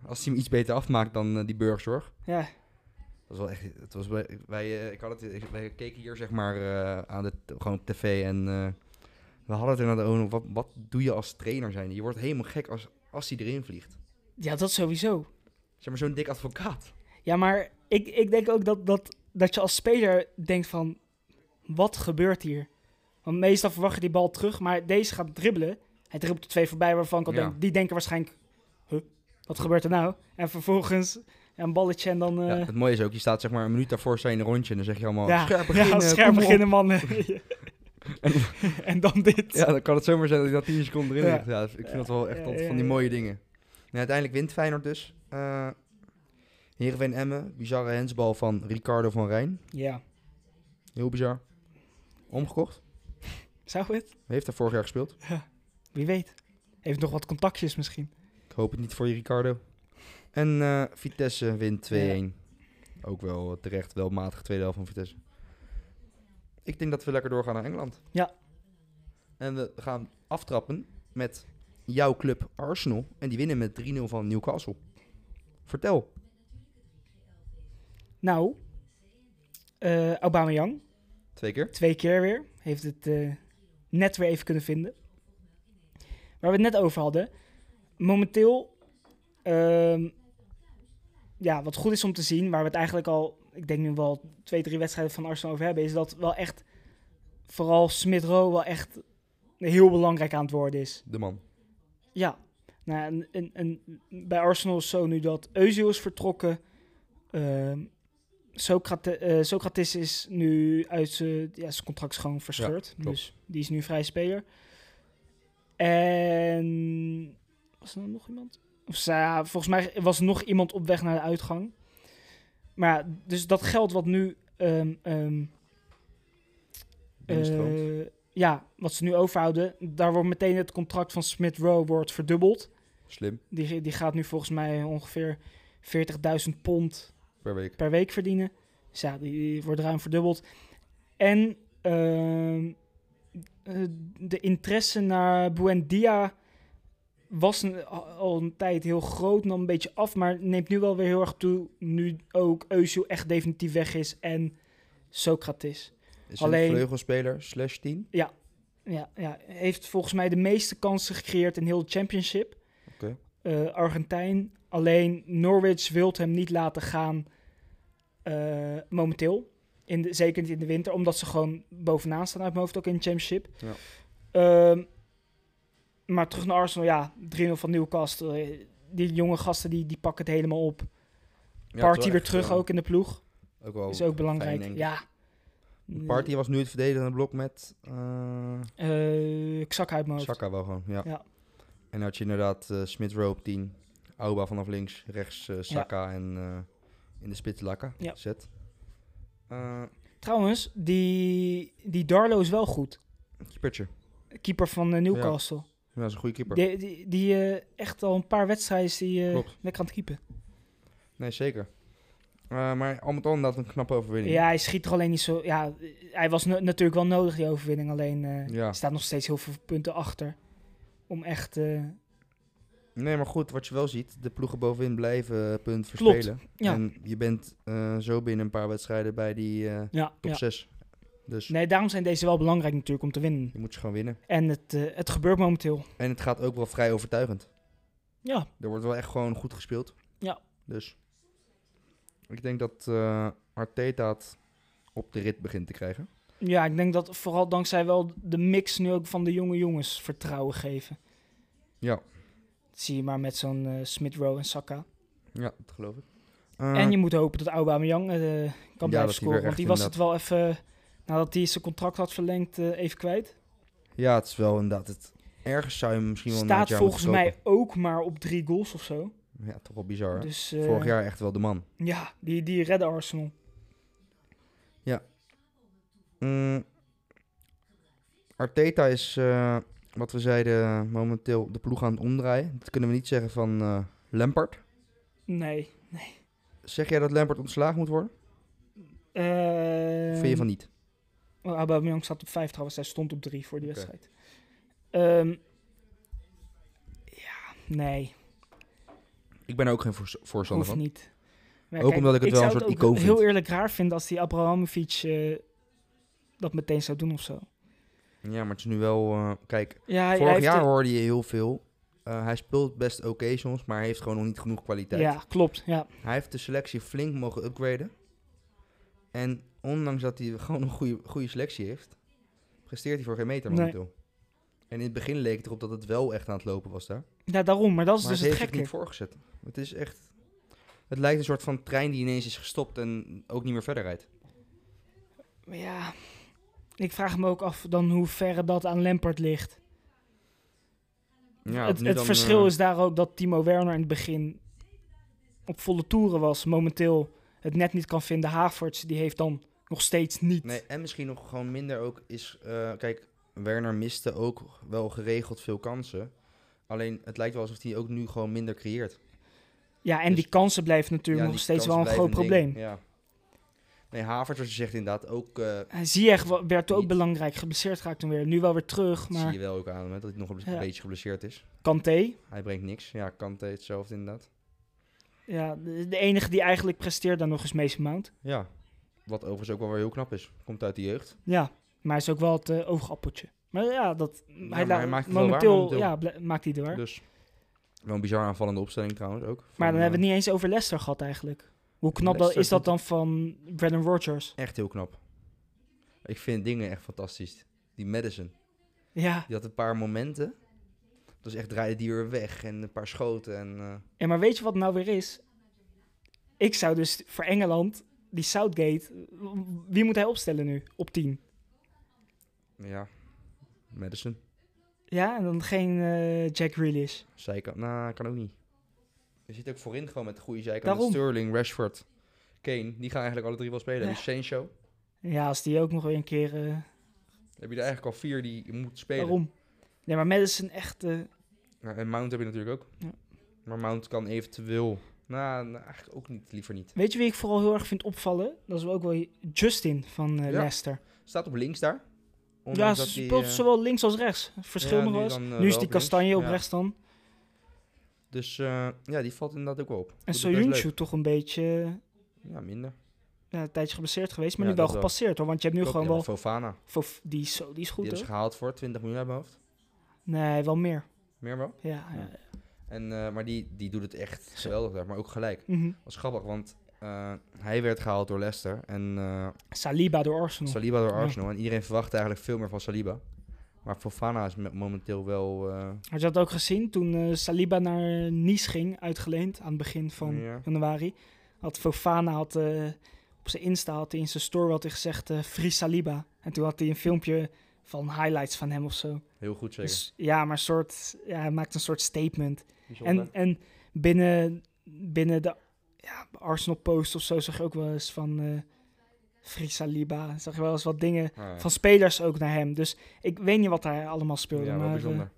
Als hij hem iets beter afmaakt dan eh, die burgerzorg. Ja, Dat was wel echt, het was, bij- wij, eh, ik had het, ik- wij keken hier zeg maar eh, aan de, gewoon op tv en eh, we hadden het inderdaad over wat, wat doe je als trainer zijn. Je wordt helemaal gek als, als hij erin vliegt. ja dat sowieso. Zeg maar zo'n dik advocaat. Ja, maar ik, ik denk ook dat, dat, dat je als speler denkt van, wat gebeurt hier? Want meestal verwacht je die bal terug, maar deze gaat dribbelen. Hij dribbelt er twee voorbij waarvan ik al Ja. denk, die denken waarschijnlijk, huh, wat gebeurt er nou? En vervolgens ja, een balletje en dan... eh, Ja, het mooie is ook, je staat zeg maar een minuut daarvoor sta je in een rondje en dan zeg je allemaal Ja, Oh, scherp ja, beginnen. scherp kom op." beginnen, man. en dan dit. Ja, dan kan het zomaar zijn dat hij dat 10 seconden erin Ja. ligt. Ja, ik vind dat wel echt Ja, altijd ja, van die ja. mooie dingen. En uiteindelijk wint Feyenoord dus. Eh Heerenveen Emmen, bizarre hensbal van Ricardo van Rijn. Ja, Heel bizar. Omgekocht. zou het? Heeft daar vorig jaar gespeeld. Wie weet. Heeft nog wat contactjes misschien. Ik hoop het niet voor je Ricardo. En eh, Vitesse wint 2-1. Ook wel terecht, wel matig tweede helft van Vitesse. Ik denk dat we lekker doorgaan naar Engeland. Ja. En we gaan aftrappen met jouw club Arsenal. En die winnen met 3-0 van Newcastle. Vertel. Nou, eh Aubameyang, Twee keer. twee keer weer. Heeft het eh, net weer even kunnen vinden. Waar we het net over hadden. Momenteel, ehm, ja, wat goed is om te zien, waar we het eigenlijk al, ik denk nu wel twee, drie wedstrijden van Arsenal over hebben, is dat wel echt, vooral Smith Rowe wel echt heel belangrijk aan het worden is. De man. Ja, nou, en, en, en bij Arsenal is zo nu dat Özil is vertrokken. Ehm Socrate- eh, Socrates is nu uit zijn ja, zijn contract is gewoon verscheurd. klopt. dus die is nu vrij speler. En was er nou nog iemand? Of ze- ja, volgens mij was er nog iemand op weg naar de uitgang. Maar ja, dus dat geld wat nu ehm, ehm, binnenstroomt. eh, ja, wat ze nu overhouden, daar wordt meteen het contract van Smith Rowe wordt verdubbeld. Slim, Die, die gaat nu volgens mij ongeveer 40.000 pond per week. per week verdienen. Dus ja, die, die wordt ruim verdubbeld. En ehm, eh, de interesse naar Buendia was een- al- al een tijd heel groot, nam een beetje af, maar neemt nu wel weer heel erg toe. Nu ook Eusiel echt definitief weg is en Socrates. Is alleen- een vleugelspeler slash 10. Ja, ja, heeft volgens mij de meeste kansen gecreëerd in heel de championship. Oké. Eh, Argentijn. Alleen Norwich wil hem niet laten gaan eh, momenteel. In de, zeker niet in de winter, omdat ze gewoon bovenaan staan uit mijn hoofd ook in de championship. Ja. Ehm, maar terug naar Arsenal, ja, 3-0 van Newcastle. Eh, Die jonge gasten die, die pakken het helemaal op. Ja, Party toch weer echt, terug ja. ook in de ploeg. Ook wel is ook belangrijk. fijn, denk ik. ja. Party was nu het verdedigende blok met eh Eh, ik zak uit mijn hoofd. Saka wel gewoon. Ja. Ja. En had je inderdaad eh Smith Rowe op 10. Auba vanaf links, rechts eh, Saka en eh, in de spits Laka. Ja. Zet. Eh, Trouwens, die, die Darlo is wel goed. keepertje. Keeper van eh, Newcastle. Ja, dat is een goede keeper. Die, die, die eh, echt al een paar wedstrijden is die eh, Klopt. lekker aan het keepen. Nee, zeker. Eh, maar al met al inderdaad een knappe overwinning. Ja, hij schiet er alleen niet zo... Ja, eh, hij was no- natuurlijk wel nodig, die overwinning. Alleen eh Ja. staat nog steeds heel veel punten achter. Om echt... eh, Nee, maar goed, wat je wel ziet, de ploegen bovenin blijven eh, punt Klopt, verspelen. ja. En je bent eh, zo binnen een paar wedstrijden bij die eh, ja, top ja. 6. Dus Nee, daarom zijn deze wel belangrijk natuurlijk om te winnen. je moet ze gewoon winnen. En het, eh, het gebeurt momenteel. En het gaat ook wel vrij overtuigend. Ja, Er wordt wel echt gewoon goed gespeeld. Ja. Dus ik denk dat eh Arteta het op de rit begint te krijgen. ja ik denk dat vooral dankzij wel de mix nu ook van de jonge jongens vertrouwen geven. Ja. Dat zie je maar met zo'n eh Smith Rowe en Saka. Ja, dat geloof ik. Eh, En je moet hopen dat Aubameyang eh, kan dat hij weer blijven scoren. echt Want die was het wel even, nadat hij zijn contract had verlengd, eh, even kwijt. Ja, het is wel inderdaad. Het, ergens zou je hem misschien wel naar Staat het jaar volgens moeten mij ook maar op drie goals of zo. kopen. Ja, toch wel bizar. hè? Dus eh, Vorig jaar echt wel de man. ja, die, die redden Arsenal. Mm. Arteta is, eh, wat we zeiden, momenteel de ploeg aan het omdraaien. Dat kunnen we niet zeggen van eh Lampard. Nee. Zeg jij dat Lampard ontslagen moet worden? Eh, Vind je van niet? Oh, Aubameyang staat op vijf trouwens. Hij stond op drie voor die Oké. wedstrijd. Ehm, ja, nee. Ik ben er ook geen voors- voorstander Hoeft van. niet. Maar Ook omdat ik het wel zou een soort ook icoon vind. heel eerlijk raar vind als die Abrahamovic eh, dat meteen zou doen of zo. Ja, maar het is nu wel... eh, kijk, Ja, hij- hij vorig heeft jaar de- hoorde je heel veel. Eh, hij speelt best oké soms, maar hij heeft gewoon nog niet genoeg kwaliteit. Ja, klopt. Ja. Hij heeft de selectie flink mogen upgraden. En ondanks dat hij gewoon een goede, goede selectie heeft, presteert hij voor geen meter Nee. momenteel. En in het begin leek het erop dat het wel echt aan het lopen was daar. ja, daarom. Maar dat is maar dus hij het heeft het gekke. niet voorgezet. Het is echt... Het lijkt een soort van trein die ineens is gestopt en ook niet meer verder rijdt. Maar Ja, ik vraag me ook af dan hoe ver dat aan Lampard ligt. Ja, het nu het dan, verschil eh, is daar ook dat Timo Werner in het begin op volle toeren was. Momenteel het net niet kan vinden. Havertz, die heeft dan nog steeds niet. Nee, en misschien nog gewoon minder ook is... eh, kijk, Werner miste ook wel geregeld veel kansen. Alleen het lijkt wel alsof hij ook nu gewoon minder creëert. Ja, en dus- die kansen blijven natuurlijk Ja, nog die steeds wel een kansen groot blijven probleem. een ding, Ja. Nee, Havertz, zoals je zegt inderdaad, ook eh, En Ziyech wa- werd ook Niet. belangrijk. Geblesseerd raakt toen weer. Nu wel weer terug, zie je maar wel ook aan hem, hè, dat hij nog een Ja. beetje geblesseerd is. Kanté. Hij brengt niks. Ja, Kante hetzelfde inderdaad. Ja, de, de enige die eigenlijk presteert dan nog is Mason Mount. Ja, wat overigens ook wel weer heel knap is. Komt uit de jeugd. Ja, maar hij is ook wel het eh, oogappeltje. Maar ja, dat, hij, maar la- hij maakt het wel waar momenteel, momenteel. Ja, bl- maakt hij er waar. Dus wel een bizar aanvallende opstelling trouwens ook. maar dan Van, hebben we eh, het niet eens over Leicester gehad eigenlijk. Hoe knap dat, Leicester is dat doet dan van Brendan Rodgers? Echt heel knap. Ik vind dingen echt fantastisch. Die Madison, Ja, die had een paar momenten. Dat is echt draaide die weer weg en een paar schoten en... eh, en maar weet je wat het nou weer is? Ik zou dus voor Engeland, die Southgate, w- wie moet hij opstellen nu op 10? ja, Madison. Ja, en dan geen eh, Jack Grealish. Zijkant, nou, kan ook niet. Je zit ook voorin gewoon met de goede zijkant. Daarom. Sterling, Rashford. Kane, die gaan eigenlijk alle drie wel spelen. Ja. Heb je Sancho? Ja, als die ook nog weer een keer... eh, Heb je er eigenlijk al vier die je moet spelen? waarom? Nee, maar Madison echt... eh, Ja, en Mount heb je natuurlijk ook. Ja. Maar Mount kan eventueel... Nou, nou, eigenlijk ook niet, liever niet. weet je wie ik vooral heel erg vind opvallen? Dat is ook wel Justin van eh Ja. Leicester. Staat op links daar. Ja, Ondanks ze dat die, speelt eh, zowel links als rechts. Verschil ja, nog wel eens. dan, eh, wel nu is op die links. kastanje op Ja. rechts dan. Dus eh, ja, die valt inderdaad ook wel op. Doet En het best leuk. Soyuncu toch een beetje... eh, Ja, minder. ja, een tijdje geblesseerd geweest, maar Ja, nu wel dat wel. gepasseerd hoor. Want je hebt nu Klopt, gewoon ja, wel... maar Fofana. Fof- die, is zo, die is goed die is hoor. gehaald voor 20 miljoen uit mijn hoofd. Nee, wel meer. Meer wel. Ja, ja. Ja. En, eh, maar die, die doet het echt geweldig daar. Maar ook gelijk. Mhm. Dat was grappig, want eh, hij werd gehaald door Leicester. En eh, Saliba door Arsenal. Saliba door Ja. Arsenal. En iedereen verwachtte eigenlijk veel meer van Saliba. Maar Fofana is me- momenteel wel... eh, Had je dat ook gezien toen eh, Saliba naar Nice ging, uitgeleend aan het begin van Ja. januari? Had Fofana had, eh, op zijn Insta, had hij in zijn story had hij gezegd: eh Free Saliba. En toen had hij een filmpje van highlights van hem of zo. heel goed zeker. Dus ja, maar een soort, ja, hij maakt een soort statement. Bijzonder. En, en binnen, binnen de ja, Arsenal Post of zo zag je ook wel eens van eh Free Saliba. Zag je wel eens wat dingen Ah, ja. van spelers ook naar hem. Dus ik weet niet wat hij allemaal speelde. ja, wel maar, eh, bijzonder.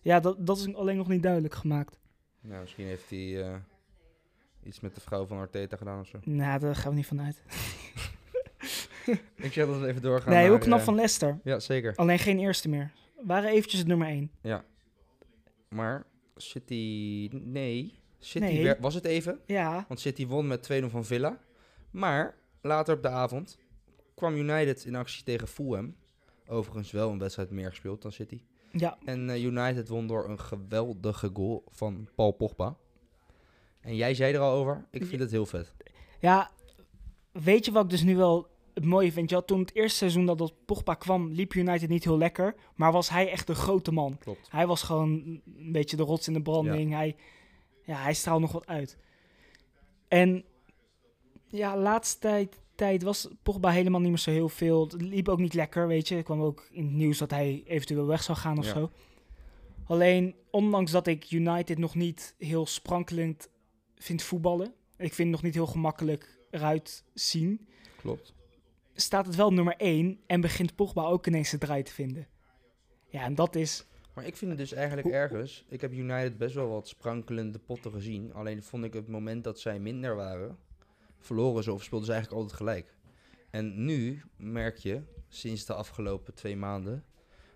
ja, dat, dat is alleen nog niet duidelijk gemaakt. Nou, misschien heeft hij eh, iets met de vrouw van Arteta gedaan of zo. Nou, daar gaan we niet van uit. Ik zeg dat we even doorgaan. nee, heel naar, knap eh, van Leicester. Ja, zeker. Alleen geen eerste meer. Waren eventjes het nummer 1. Maar City... Nee. City Nee. wer- was het even. Ja, Want City won met 2-0 van Villa. Maar later op de avond kwam United in actie tegen Fulham. Overigens wel een wedstrijd meer gespeeld dan City. ja, En eh, United won door een geweldige goal van Paul Pogba. En jij zei er al over, ik vind het heel vet. ja. Weet je wat ik dus nu wel het mooie vind? Je had toen het eerste seizoen dat, dat Pogba kwam, liep United niet heel lekker. Maar was hij echt de grote man. Klopt. Hij was gewoon een beetje de rots in de branding. Hij, ja, hij straalde nog wat uit. En ja, laatste tijd, tijd was Pogba helemaal niet meer zo heel veel. Het liep ook niet lekker, weet je. Er kwam ook in het nieuws dat hij eventueel weg zou gaan of Ja. zo. Alleen, ondanks dat ik United nog niet heel sprankelend vind voetballen. Ik vind het nog niet heel gemakkelijk eruit zien. Klopt. Staat het wel nummer 1 en begint Pogba ook ineens de draai te vinden. Ja, en dat is... Maar ik vind het dus eigenlijk ergens... Ik heb United best wel wat sprankelende potten gezien. Alleen vond ik het moment dat zij minder waren... verloren ze of speelden ze eigenlijk altijd gelijk. En nu merk je, sinds de afgelopen twee maanden...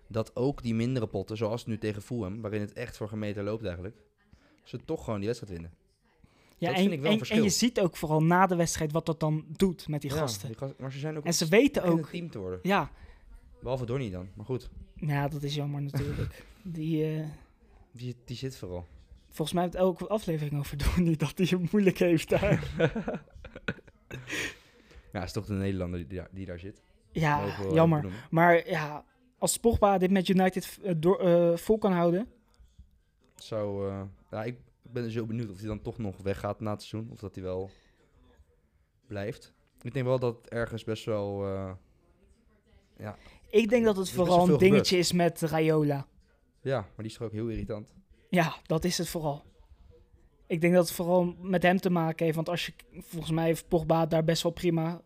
dat ook die mindere potten, zoals nu tegen Fulham... waarin het echt voor gemeten loopt eigenlijk... ze toch gewoon die wedstrijd winnen. Ja, Dat en, vind ik wel en, een verschil. en je ziet ook vooral na de wedstrijd wat dat dan doet met die Ja, gasten. die gasten- Maar ze zijn ook En ze weten ook... ook, een team te worden. ja, Behalve Donny dan, maar goed. nou dat is jammer natuurlijk. die, eh, Die, die zit vooral. volgens mij heeft elke aflevering over Donny dat hij het moeilijk heeft daar. Ja, is toch de Nederlander die, daar- die daar zit. Mogen ja, we wel even jammer. benoemen. Maar ja, als Pogba dit met United eh, door, eh, vol kan houden, Zou, eh, ja, ik ben dus heel benieuwd of hij dan toch nog weggaat na het seizoen. Of dat hij wel blijft. Ik denk wel dat het ergens best wel... eh, ik denk dat Er het is best wel vooral een veel gebeurd. dingetje is met Raiola. ja, maar die is toch ook heel irritant. Ja, dat is het vooral. Ik denk dat het vooral met hem te maken heeft. Want als je, volgens mij heeft Pogba het daar best wel prima.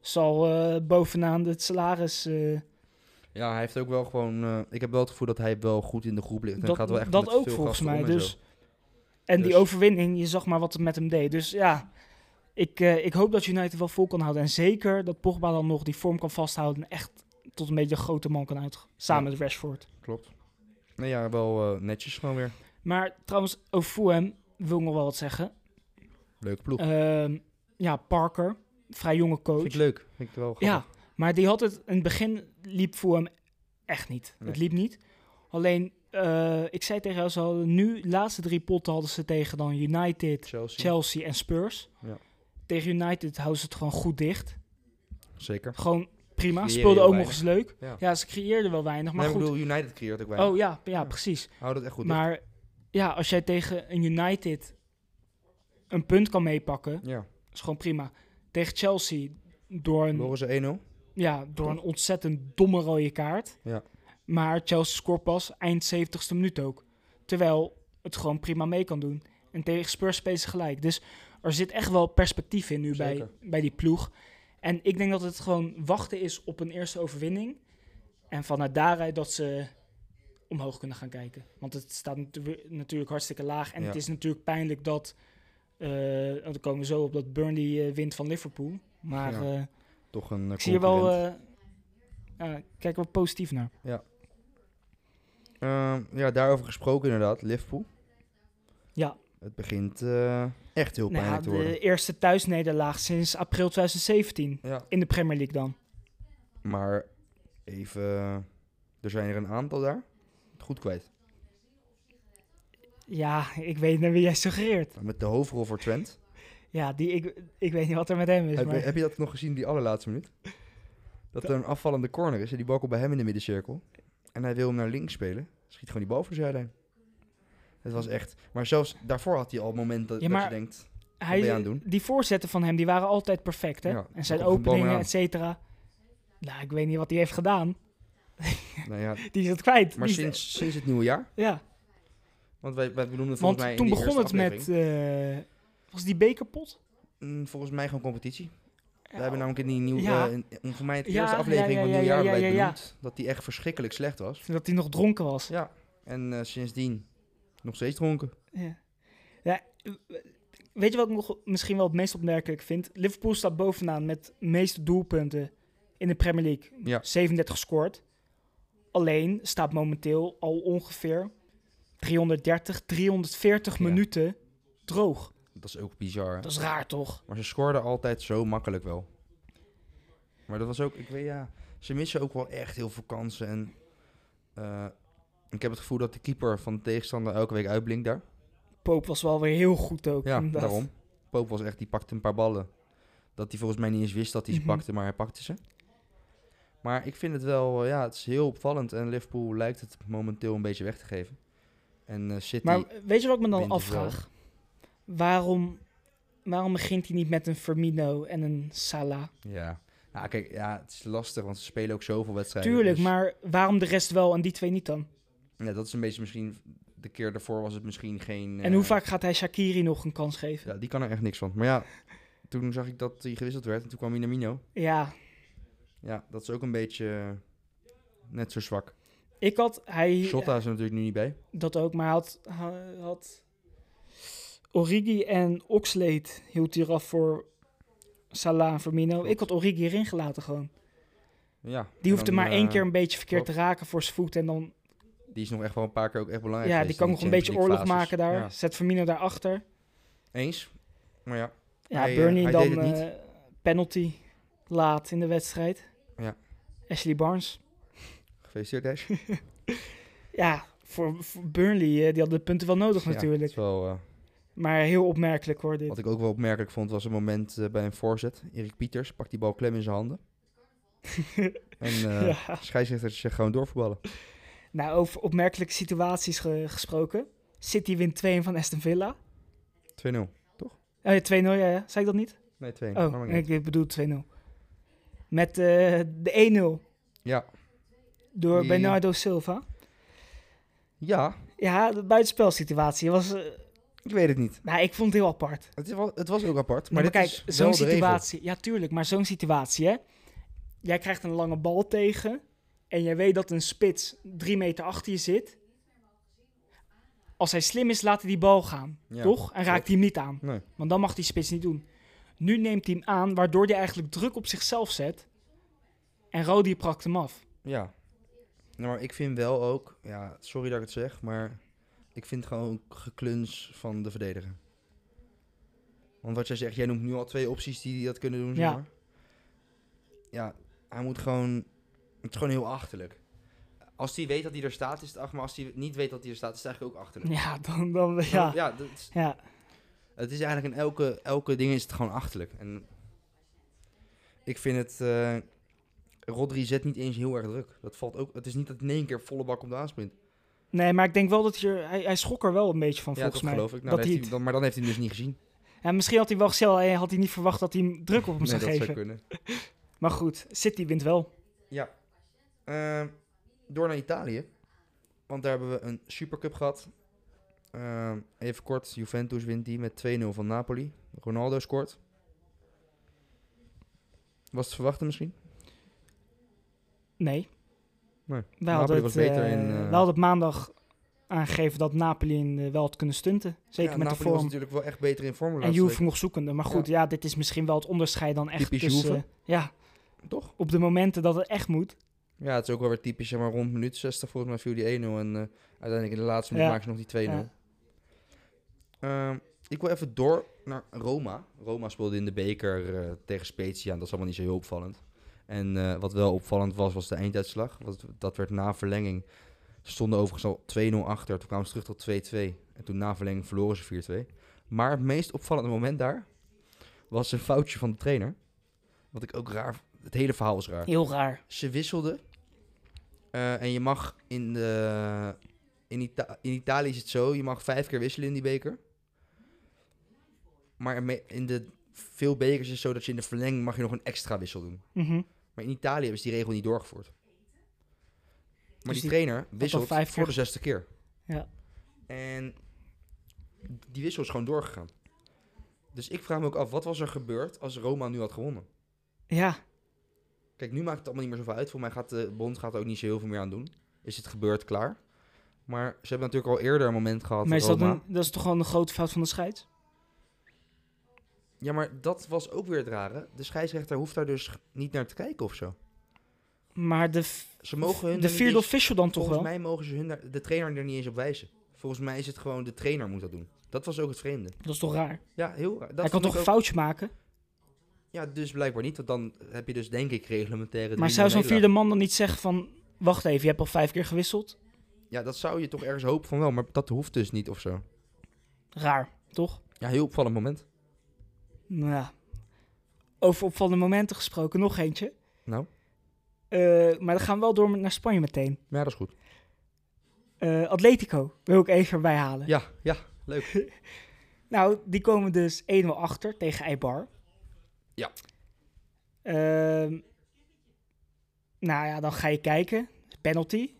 Zal eh, bovenaan het salaris. eh, Ja, hij heeft ook wel gewoon... eh, ik heb wel het gevoel dat hij wel goed in de groep ligt. En dat gaat wel echt dat met ook veel volgens gasten mij. om en Dus. zo. En die Dus- overwinning, je zag maar wat het met hem deed. Dus ja, ik, eh, ik hoop dat United wel vol kan houden. En zeker dat Pogba dan nog die vorm kan vasthouden. En echt tot een beetje een grote man kan uit. Samen Ja. met Rashford. Klopt. Nee, ja, wel eh, netjes gewoon weer. Maar trouwens, over Fulham wil ik nog wel wat zeggen. Leuke ploeg. Ehm, ja, Parker. Vrij jonge coach. Vind ik leuk. Vind ik wel Ja, maar die had het in het begin liep voor hem echt niet. Nee. Het liep niet. Alleen, eh, ik zei tegen jou, ze hadden nu de laatste drie potten hadden ze tegen dan United, Chelsea. Chelsea en Spurs. Ja. Tegen United houden ze het gewoon goed dicht. Zeker. Gewoon prima. Creëren Speelden heel ook nog eens leuk. Ja. Ja. ze creëerden wel weinig, maar Maar ik goed. bedoel, United creëert ook weinig. Oh ja, ja, Ja. precies. Hou dat echt goed maar ja, als jij tegen een United een punt kan meepakken, dicht. Ja. is gewoon prima. Tegen Chelsea door een Verloren ze 1-0. Ja, door een ontzettend domme rode kaart. Ja. Maar Chelsea scoort pas eind 70ste minuut ook. Terwijl het gewoon prima mee kan doen. En tegen Spurs spelen ze gelijk. Dus er zit echt wel perspectief in nu bij, Zeker. bij die ploeg. En ik denk dat het gewoon wachten is op een eerste overwinning. En vanuit daaruit dat ze omhoog kunnen gaan kijken. Want het staat natu- natuurlijk hartstikke laag. En Ja. het is natuurlijk pijnlijk dat... eh dan komen we zo op dat Burnley eh, wint van Liverpool. Maar Ja. eh, Toch een eh, ik zie er wel... concurrent. eh, ja, ik kijk er wel positief naar. Ehm, ja, daarover gesproken inderdaad. Liverpool. Ja. Het begint eh, echt heel Nou ja, pijnlijk te worden. de eerste thuisnederlaag sinds april 2017 Ja. in de Premier League dan. Maar even... eh, Er zijn er een aantal daar. Goed kwijt. Ja, ik weet naar wie jij suggereert. Met de hoofdrol voor Trent. Ja, die, ik, ik weet niet wat er met hem is. heb, maar, heb je dat nog gezien, die allerlaatste minuut? Dat er een afvallende corner is en die bal komt bij hem in de middencirkel. En hij wil hem naar links spelen. Schiet gewoon die bal voor de zijlijn. Het was echt... Maar zelfs daarvoor had hij al momenten Ja, maar dat je denkt... hij, ben je aan het doen? Die voorzetten van hem die waren altijd perfect. Hè? Ja, daar en zijn komt geen bal meer openingen, aan. et cetera. Nou, ik weet niet wat hij heeft gedaan. Nou ja, Die is het kwijt. maar Die is- sinds, sinds het nieuwe jaar... Ja, Want wij, wij benoemden volgens want mij in toen die begon het eerste met... aflevering, eh, was die bekerpot? mm, volgens mij gewoon competitie. Ja, We hebben namelijk in die nieuwe... Ja. eh, in- in- voor mij in de Ja, eerste ja, aflevering ja, van ja, het nieuwe ja, jaar ja, hebben wij ja, ja. benoemd Dat die echt verschrikkelijk slecht was. Dat hij nog dronken was. Ja, en eh, sindsdien nog steeds dronken. Ja. ja. Weet je wat ik nog misschien wel het meest opmerkelijk vind? Liverpool staat bovenaan met de meeste doelpunten in de Premier League. Ja. 37 gescoord. Alleen staat momenteel al ongeveer 330, 340 Ja. minuten droog. Dat is ook bizar. hè? Dat is raar toch? Maar ze scoorden altijd zo makkelijk wel. Maar dat was ook, ik weet ja, ze missen ook wel echt heel veel kansen. En eh, ik heb het gevoel dat de keeper van de tegenstander elke week uitblinkt daar. Poop was wel weer heel goed ook. Ja, inderdaad. daarom. Poop was echt, die pakte een paar ballen. Dat hij volgens mij niet eens wist dat hij ze Mhm. pakte, maar hij pakte ze. Maar ik vind het wel, eh, ja, het is heel opvallend. En Liverpool lijkt het momenteel een beetje weg te geven. En eh City, Maar weet je wat ik me dan wint het wel. afvraag? Waarom, waarom begint hij niet met een Firmino en een Salah? ja. Nou, kijk, ja, het is lastig, want ze spelen ook zoveel wedstrijden. Tuurlijk, dus- maar waarom de rest wel en die twee niet dan? Ja, dat is een beetje misschien... De keer daarvoor was het misschien geen... En eh, hoe vaak gaat hij Shakiri nog een kans geven? Ja, die kan er echt niks van. Maar ja, toen zag ik dat hij gewisseld werd en toen kwam Minamino. Ja, Ja, dat is ook een beetje eh, net zo zwak. ik had... Hij, eh, Shota is er natuurlijk nu niet bij. Dat ook, maar hij had, hij had... Origi en Oxlade hield hij eraf voor Salah en Firmino. Klopt. Ik had Origi erin gelaten gewoon. Ja, Die hoefde dan, maar één eh, keer een beetje verkeerd klopt. Oh, te raken voor zijn voet. En dan, Die is nog echt wel een paar keer ook echt belangrijk ja, die geweest kan in nog de een beetje Champions oorlog League maken daar. fases. Zet Firmino daarachter. Ja, eens. Maar ja, Ja, Hij, eh, Burnley hij dan deed het niet. eh, penalty laat in de wedstrijd. Ja. Ashley Barnes. gefeliciteerd Ash. Ja, voor, voor Burnley, eh, die hadden de punten wel nodig Ja, dat natuurlijk. is wel, eh, Maar heel opmerkelijk hoor dit. wat ik ook wel opmerkelijk vond was een moment eh, bij een voorzet. Erik Pieters pakt die bal klem in zijn handen. en eh Ja. scheidsrechter zegt gewoon doorvoetballen. Nou, over opmerkelijke situaties ge- gesproken. City wint 2 van Aston Villa. 2-0. Oh ja, 2-0, ja, ja. Zei ik dat niet? Nee, 2-0. Maar Oh, maakt niet uit. ik bedoel 2-0. Met eh, de 1-0 Ja. door Die- Bernardo Silva. ja, Ja, de buitenspelsituatie was... eh, ik weet het niet. nou, ik vond het heel apart. Het, is wel, het was ook apart, Maar, maar, dit kijk, is wel zo'n de regel. situatie... Ja, tuurlijk, maar zo'n situatie, hè. Jij krijgt een lange bal tegen... en jij weet dat een spits drie meter achter je zit. Als hij slim is, laat hij die bal gaan, Ja, toch? En raakt klopt. hij hem niet aan. Nee. Want dan mag die spits niet doen. Nu neemt hij hem aan, waardoor hij eigenlijk druk op zichzelf zet. En Rodi prakt hem af. Ja. Nou, maar ik vind wel ook, ja, sorry dat ik het zeg, maar ik vind gewoon gekluns van de verdediger. Want wat jij zegt, jij noemt nu al twee opties die, die dat kunnen doen, zeg Ja. maar. Ja, hij moet gewoon, het is gewoon heel achterlijk. Als hij weet dat hij er staat, is het achter, maar als hij niet weet dat hij er staat, is het eigenlijk ook achterlijk. Ja, dan... dan ja. ja dat is- Ja. het is eigenlijk in elke, elke ding is het gewoon achterlijk. En ik vind het. eh Rodri zet niet eens heel erg druk. Dat valt ook. Het is niet dat hij in één keer volle bak op de aansprint. Nee, maar ik denk wel dat je, hij, hij schrok er wel een beetje van, Ja, volgens dat mij. geloof ik. Nou, dat dat heeft hij hij, dan, maar dan heeft hij hem dus niet gezien. het- ja, misschien had hij wel gezellig... en had hij niet verwacht dat hij hem druk op hem Nee, zou dat geven. zou kunnen. Maar goed, City wint wel. Ja. Eh, Ehm, door naar Italië. Want daar hebben we een Supercup gehad. Ehm, even kort, Juventus wint die met 2-0 van Napoli. Ronaldo scoort. Was te verwachten misschien? Nee. Nee, Wij hadden, was het, beter eh, in, eh, wij hadden het maandag aangegeven dat Napoli in, eh, wel had kunnen stunten. Zeker Ja, met Napoli de was vorm. natuurlijk wel echt beter in vorm. de En laatste Juve nog zoekende. Maar goed, ja. dit is misschien wel het onderscheid dan echt Typisch tussen... eh, Juve. Ja, week. Toch? op de momenten dat het echt moet. Ja, het is ook wel weer typisch. Zeg maar rond minuut 60 volgens mij viel die 1-0. En eh, uiteindelijk in de laatste minuut Ja. maken ze nog die 2-0. Ja. Ehm, ik wil even door naar Roma. Roma speelde in de beker eh, tegen Spezia. En dat is allemaal niet zo heel opvallend. En eh, wat wel opvallend was, was de einduitslag. Want dat werd na verlenging. Ze stonden overigens al 2-0 achter. Toen kwamen ze terug tot 2-2. En toen na verlenging verloren ze 4-2. Maar het meest opvallende moment daar was een foutje van de trainer. Wat ik ook raar... Het hele verhaal is raar Heel raar. ze wisselden. Eh, en je mag in de. In, Ita- in Italië is het zo: je mag vijf keer wisselen in die beker. Maar in me- in de veel bekers is het zo dat je in de verlenging mag je nog een extra wissel doen. Mhm. Maar in Italië hebben ze die regel niet doorgevoerd. Maar Dus die die trainer wisselt vijf voor keer- de zesde keer. Ja. En die wissel is gewoon doorgegaan. Dus ik vraag me ook af, wat was er gebeurd als Roma nu had gewonnen? Ja, Kijk, nu maakt het allemaal niet meer zoveel uit. Voor mij gaat de bond gaat er ook niet zo heel veel meer aan doen. Is het gebeurd, klaar. Maar ze hebben natuurlijk al eerder een moment gehad. maar is dat, Roma. een- dat is toch gewoon een grote fout van de scheids? Ja, maar dat was ook weer het rare. De scheidsrechter hoeft daar dus niet naar te kijken of zo. Maar de, f- Ze mogen hun de er niet vierde eens- official dan toch Volgens wel? mij mogen ze hun daar, de trainer er niet eens op wijzen. Volgens mij is het gewoon de trainer moet dat doen. Dat was ook het vreemde. Dat is toch raar? Ja, heel raar. Dat Hij kan vond ik toch een ook- foutje maken? Ja, dus blijkbaar niet. Want dan heb je dus denk ik reglementaire... Maar 3-0 zou zo'n nederlaag. vierde man dan niet zeggen van... Wacht even, je hebt al vijf keer gewisseld? Ja, dat zou je toch ergens hopen van wel. Maar dat hoeft dus niet of zo. Raar, toch? Ja, heel opvallend moment. Nou ja. Over opvallende momenten gesproken, nog eentje. Nou? Eh, maar dan gaan we wel door met- naar Spanje meteen. Maar ja, dat is goed. Eh, Atletico wil ik even erbij halen. Ja, ja, leuk. Nou, die komen dus 1-0 achter tegen Eibar. Ja. Ehm, nou ja, dan ga je kijken. Penalty.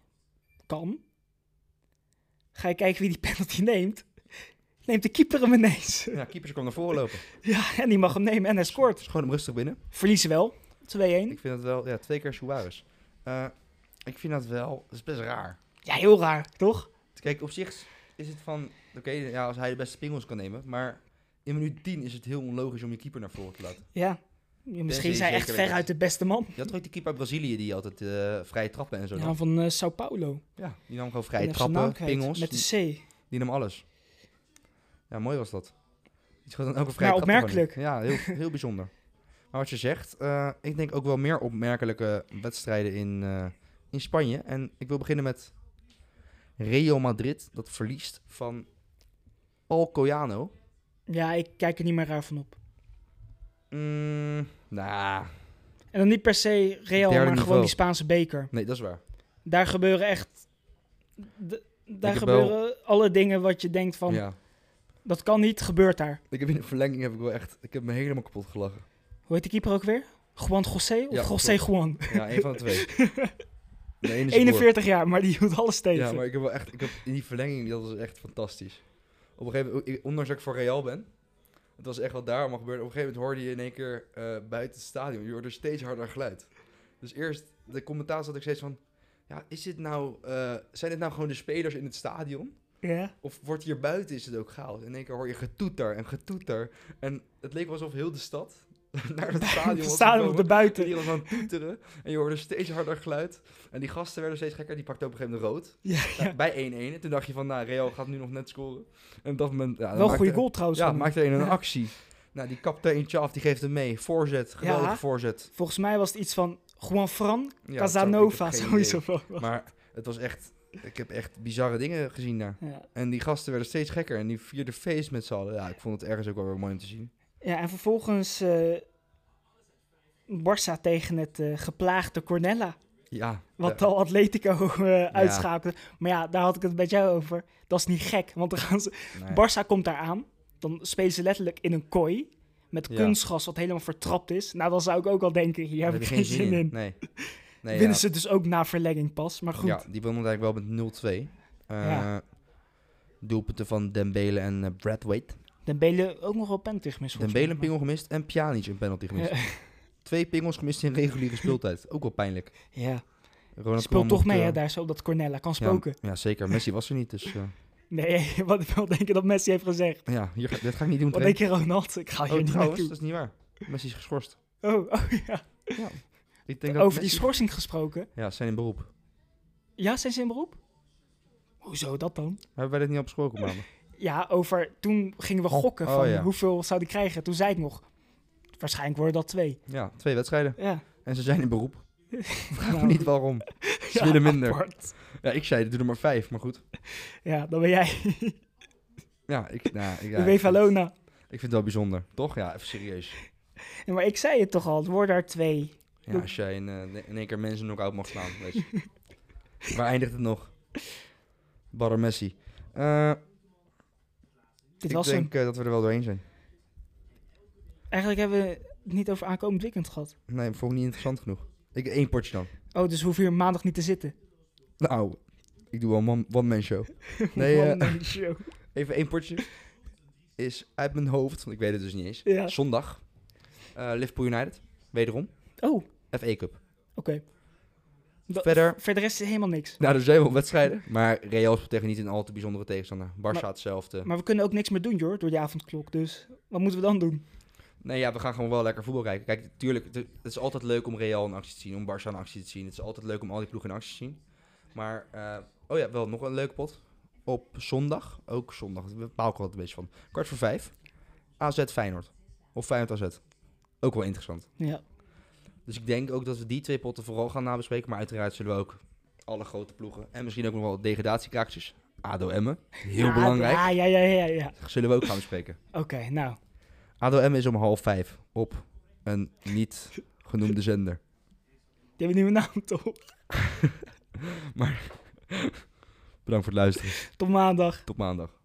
Kan. Ga je kijken wie die penalty neemt. Neemt de keeper hem ineens. Ja, keepers kwam naar voren lopen. Ja, en die mag hem nemen en hij scoort. Schoon hem rustig binnen. Verliezen wel. 2-1. Ik vind dat wel, ja, twee keer Suarez. Eh, ik vind dat wel, dat is best raar. Ja, heel raar, toch? Kijk, op zich is het van, oké, ja, als hij de beste pingels kan nemen, maar in minuut 10 is het heel onlogisch om je keeper naar voren te laten. Ja. Misschien je is hij zeker echt weet. veruit de beste man. Je had toch ook die keeper uit Brazilië die altijd eh, vrije trappen en zo Ja, nam? van eh, Sao Paulo. Ja, die nam gewoon Ik vrije ben even zijn naam trappen, kwijt. pingels, Met die, de C. die nam alles. Ja, mooi was dat. Die schoot dan elke vrije Ja, trap er gewoon Nou, opmerkelijk. in. Ja, heel, heel bijzonder. Maar wat je zegt, eh, ik denk ook wel meer opmerkelijke wedstrijden in, eh, in Spanje. En ik wil beginnen met Real Madrid, dat verliest van Alcoyano. Ja, ik kijk er niet meer raar van op. Mm, nou, En dan niet per se Real, Derde maar niveau. gewoon die Spaanse beker. nee, dat is waar. Daar gebeuren echt... d- daar heb gebeuren alle dingen wat je denkt van... Ja. Dat kan niet, gebeurt daar. Ik heb in de verlenging heb ik wel echt, ik heb me helemaal kapot gelachen. Hoe heet de keeper ook weer? Juan José of Ja, José klopt. Juan? Ja, één van de twee. De ene is een boer. 41 jaar, maar die hield alles tegen. Ja, maar ik heb wel echt, ik heb in die verlenging, dat was echt fantastisch. Op een gegeven moment, ik- ondanks dat ik voor Real ben, het was echt wat daar allemaal gebeurde. Op een gegeven moment hoorde je in één keer eh, buiten het stadion, je hoorde steeds harder geluid. Dus eerst, de commentaar zat ik steeds van, ja, is dit nou, eh, zijn dit nou gewoon de spelers in het stadion? Ja. Of wordt hier buiten is het ook chaos? In één keer hoor je getoeter en getoeter. En het leek wel alsof heel de stad naar het stadion Het was stadion op gekomen. de buiten. Die was aan het toeteren en je hoorde steeds harder geluid. En die gasten werden steeds gekker, die pakten op een gegeven moment rood. Ja, Ja, bij 1-1. En toen dacht je van, nou, Real gaat nu nog net scoren. En op dat moment... Ja, dan Wel een maakte- goede goal trouwens. Ja, van hem. maakte een, een actie. Nou, die kapt er eentje af, die geeft hem mee. Voorzet, geweldig Ja. voorzet. Volgens mij was het iets van Juan Fran Ja, Casanova. zo- ik heb geen Sowieso wel. idee. Maar het was echt... Ik heb echt bizarre dingen gezien daar. Ja. En die gasten werden steeds gekker. En die vierde feest met z'n allen. Ja, ik vond het ergens ook wel weer mooi om te zien. ja, en vervolgens eh Barça tegen het eh, geplaagde Cornella. Ja. Wat ja. al Atletico eh uitschakelde. Maar ja, daar had ik het met jou over. Dat is niet gek, want dan gaan ze... Nee. Barça komt daar aan. Dan spelen ze letterlijk in een kooi. Met Ja. kunstgras wat helemaal vertrapt is. Nou, dan zou ik ook al denken, hier Daar heb ik geen zin in. Nee. Nee, Winnen ja. ze dus ook na verlenging pas. Maar goed, Ja, die won uiteindelijk wel met 0-2. Eh, Ja. Doelpunten van Dembele en eh, Bradwaite. Dembele ook nog wel penalty gemist. volgens Dembele een mij, pingel gemist en Pjanic een penalty maar- gemist. Twee pingels gemist in reguliere speeltijd. Ook wel pijnlijk. Ja, ja. Ronald speelt Koeman toch mocht, mee eh, hè, daar zo, dat Cornella kan ja, spoken. Ja, zeker. Messi was er niet, dus... eh, Nee, wat ik wel denken dat Messi heeft gezegd. ja, hier, ga- dit ga ik niet doen. Wat Trey. denk je, Ronald? Ik ga hier Oh, niet trouwens, dat naartoe. is niet waar. Messi is geschorst. Oh, oh ja. Ja. Ik denk dat Over die Messi- schorsing gesproken. Ja, ze zijn in beroep. Ja, zijn ze in beroep? Hoezo dat dan? Hebben wij dit niet op school maanden? Ja, over toen gingen we gokken Oh, van ja. hoeveel zou die krijgen. Toen zei ik nog, waarschijnlijk worden dat twee. Ja, twee wedstrijden. Ja, En ze zijn in beroep. Vraag me Nou, niet waarom. Ze Ja, willen minder. apart. Ja, ik zei, doe er maar vijf, maar goed. Ja, dan ben jij Ja, ik, nou, ik, ja, de ik, vind, ik Wevalona. vind het wel bijzonder. Toch? Ja, even serieus. Ja, maar ik zei het toch al, het worden er twee. Ja, als jij in, eh, in één keer mensen nog out mag slaan. Weet je. Waar eindigt het nog? Barra Messi. Eh, Dit ik was hem. denk eh, dat we er wel doorheen zijn. Eigenlijk hebben we het niet over aankomend weekend gehad. Nee, vond ik niet interessant genoeg. Ik één potje dan. Oh, dus we hoeven hier maandag niet te zitten. Nou, ik doe wel een one- one-man show. Nee, eh, Man, show. Even één potje. Is uit mijn hoofd, want ik weet het dus niet eens. Ja. Zondag. eh, Liverpool United. Wederom. Oh, oké. FA Cup. Da- Verder. Verder is er helemaal niks. Nou, er zijn wel wedstrijden. Maar Real speelt tegen niet een al te bijzondere tegenstander. Barça Maar- hetzelfde. Maar we kunnen ook niks meer doen, hoor, door die avondklok. Dus wat moeten we dan doen? Nee, ja, we gaan gewoon wel lekker voetbal kijken. Kijk, tuurlijk, het het is altijd leuk om Real in actie te zien. Om Barça in actie te zien. Het is altijd leuk om al die ploegen in actie te zien. Maar, eh, oh ja, wel nog een leuke pot. Op zondag. Ook zondag. Daar baal ik altijd een beetje van. Kwart voor vijf. AZ Feyenoord. Of Feyenoord AZ. Ook wel interessant. Ja, Dus ik denk ook dat we die twee potten vooral gaan nabespreken. Maar uiteraard zullen we ook alle grote ploegen. En misschien ook nog wel degradatiekraakjes. ADO Emmen. Heel Ja, belangrijk. Ja, ja, ja, ja. ja. Zullen we ook gaan bespreken. Oké, nou. ADO Emmen is om half vijf op een niet genoemde zender. Die hebben een nieuwe naam, toch? Bedankt voor het luisteren. Tot maandag. Tot maandag.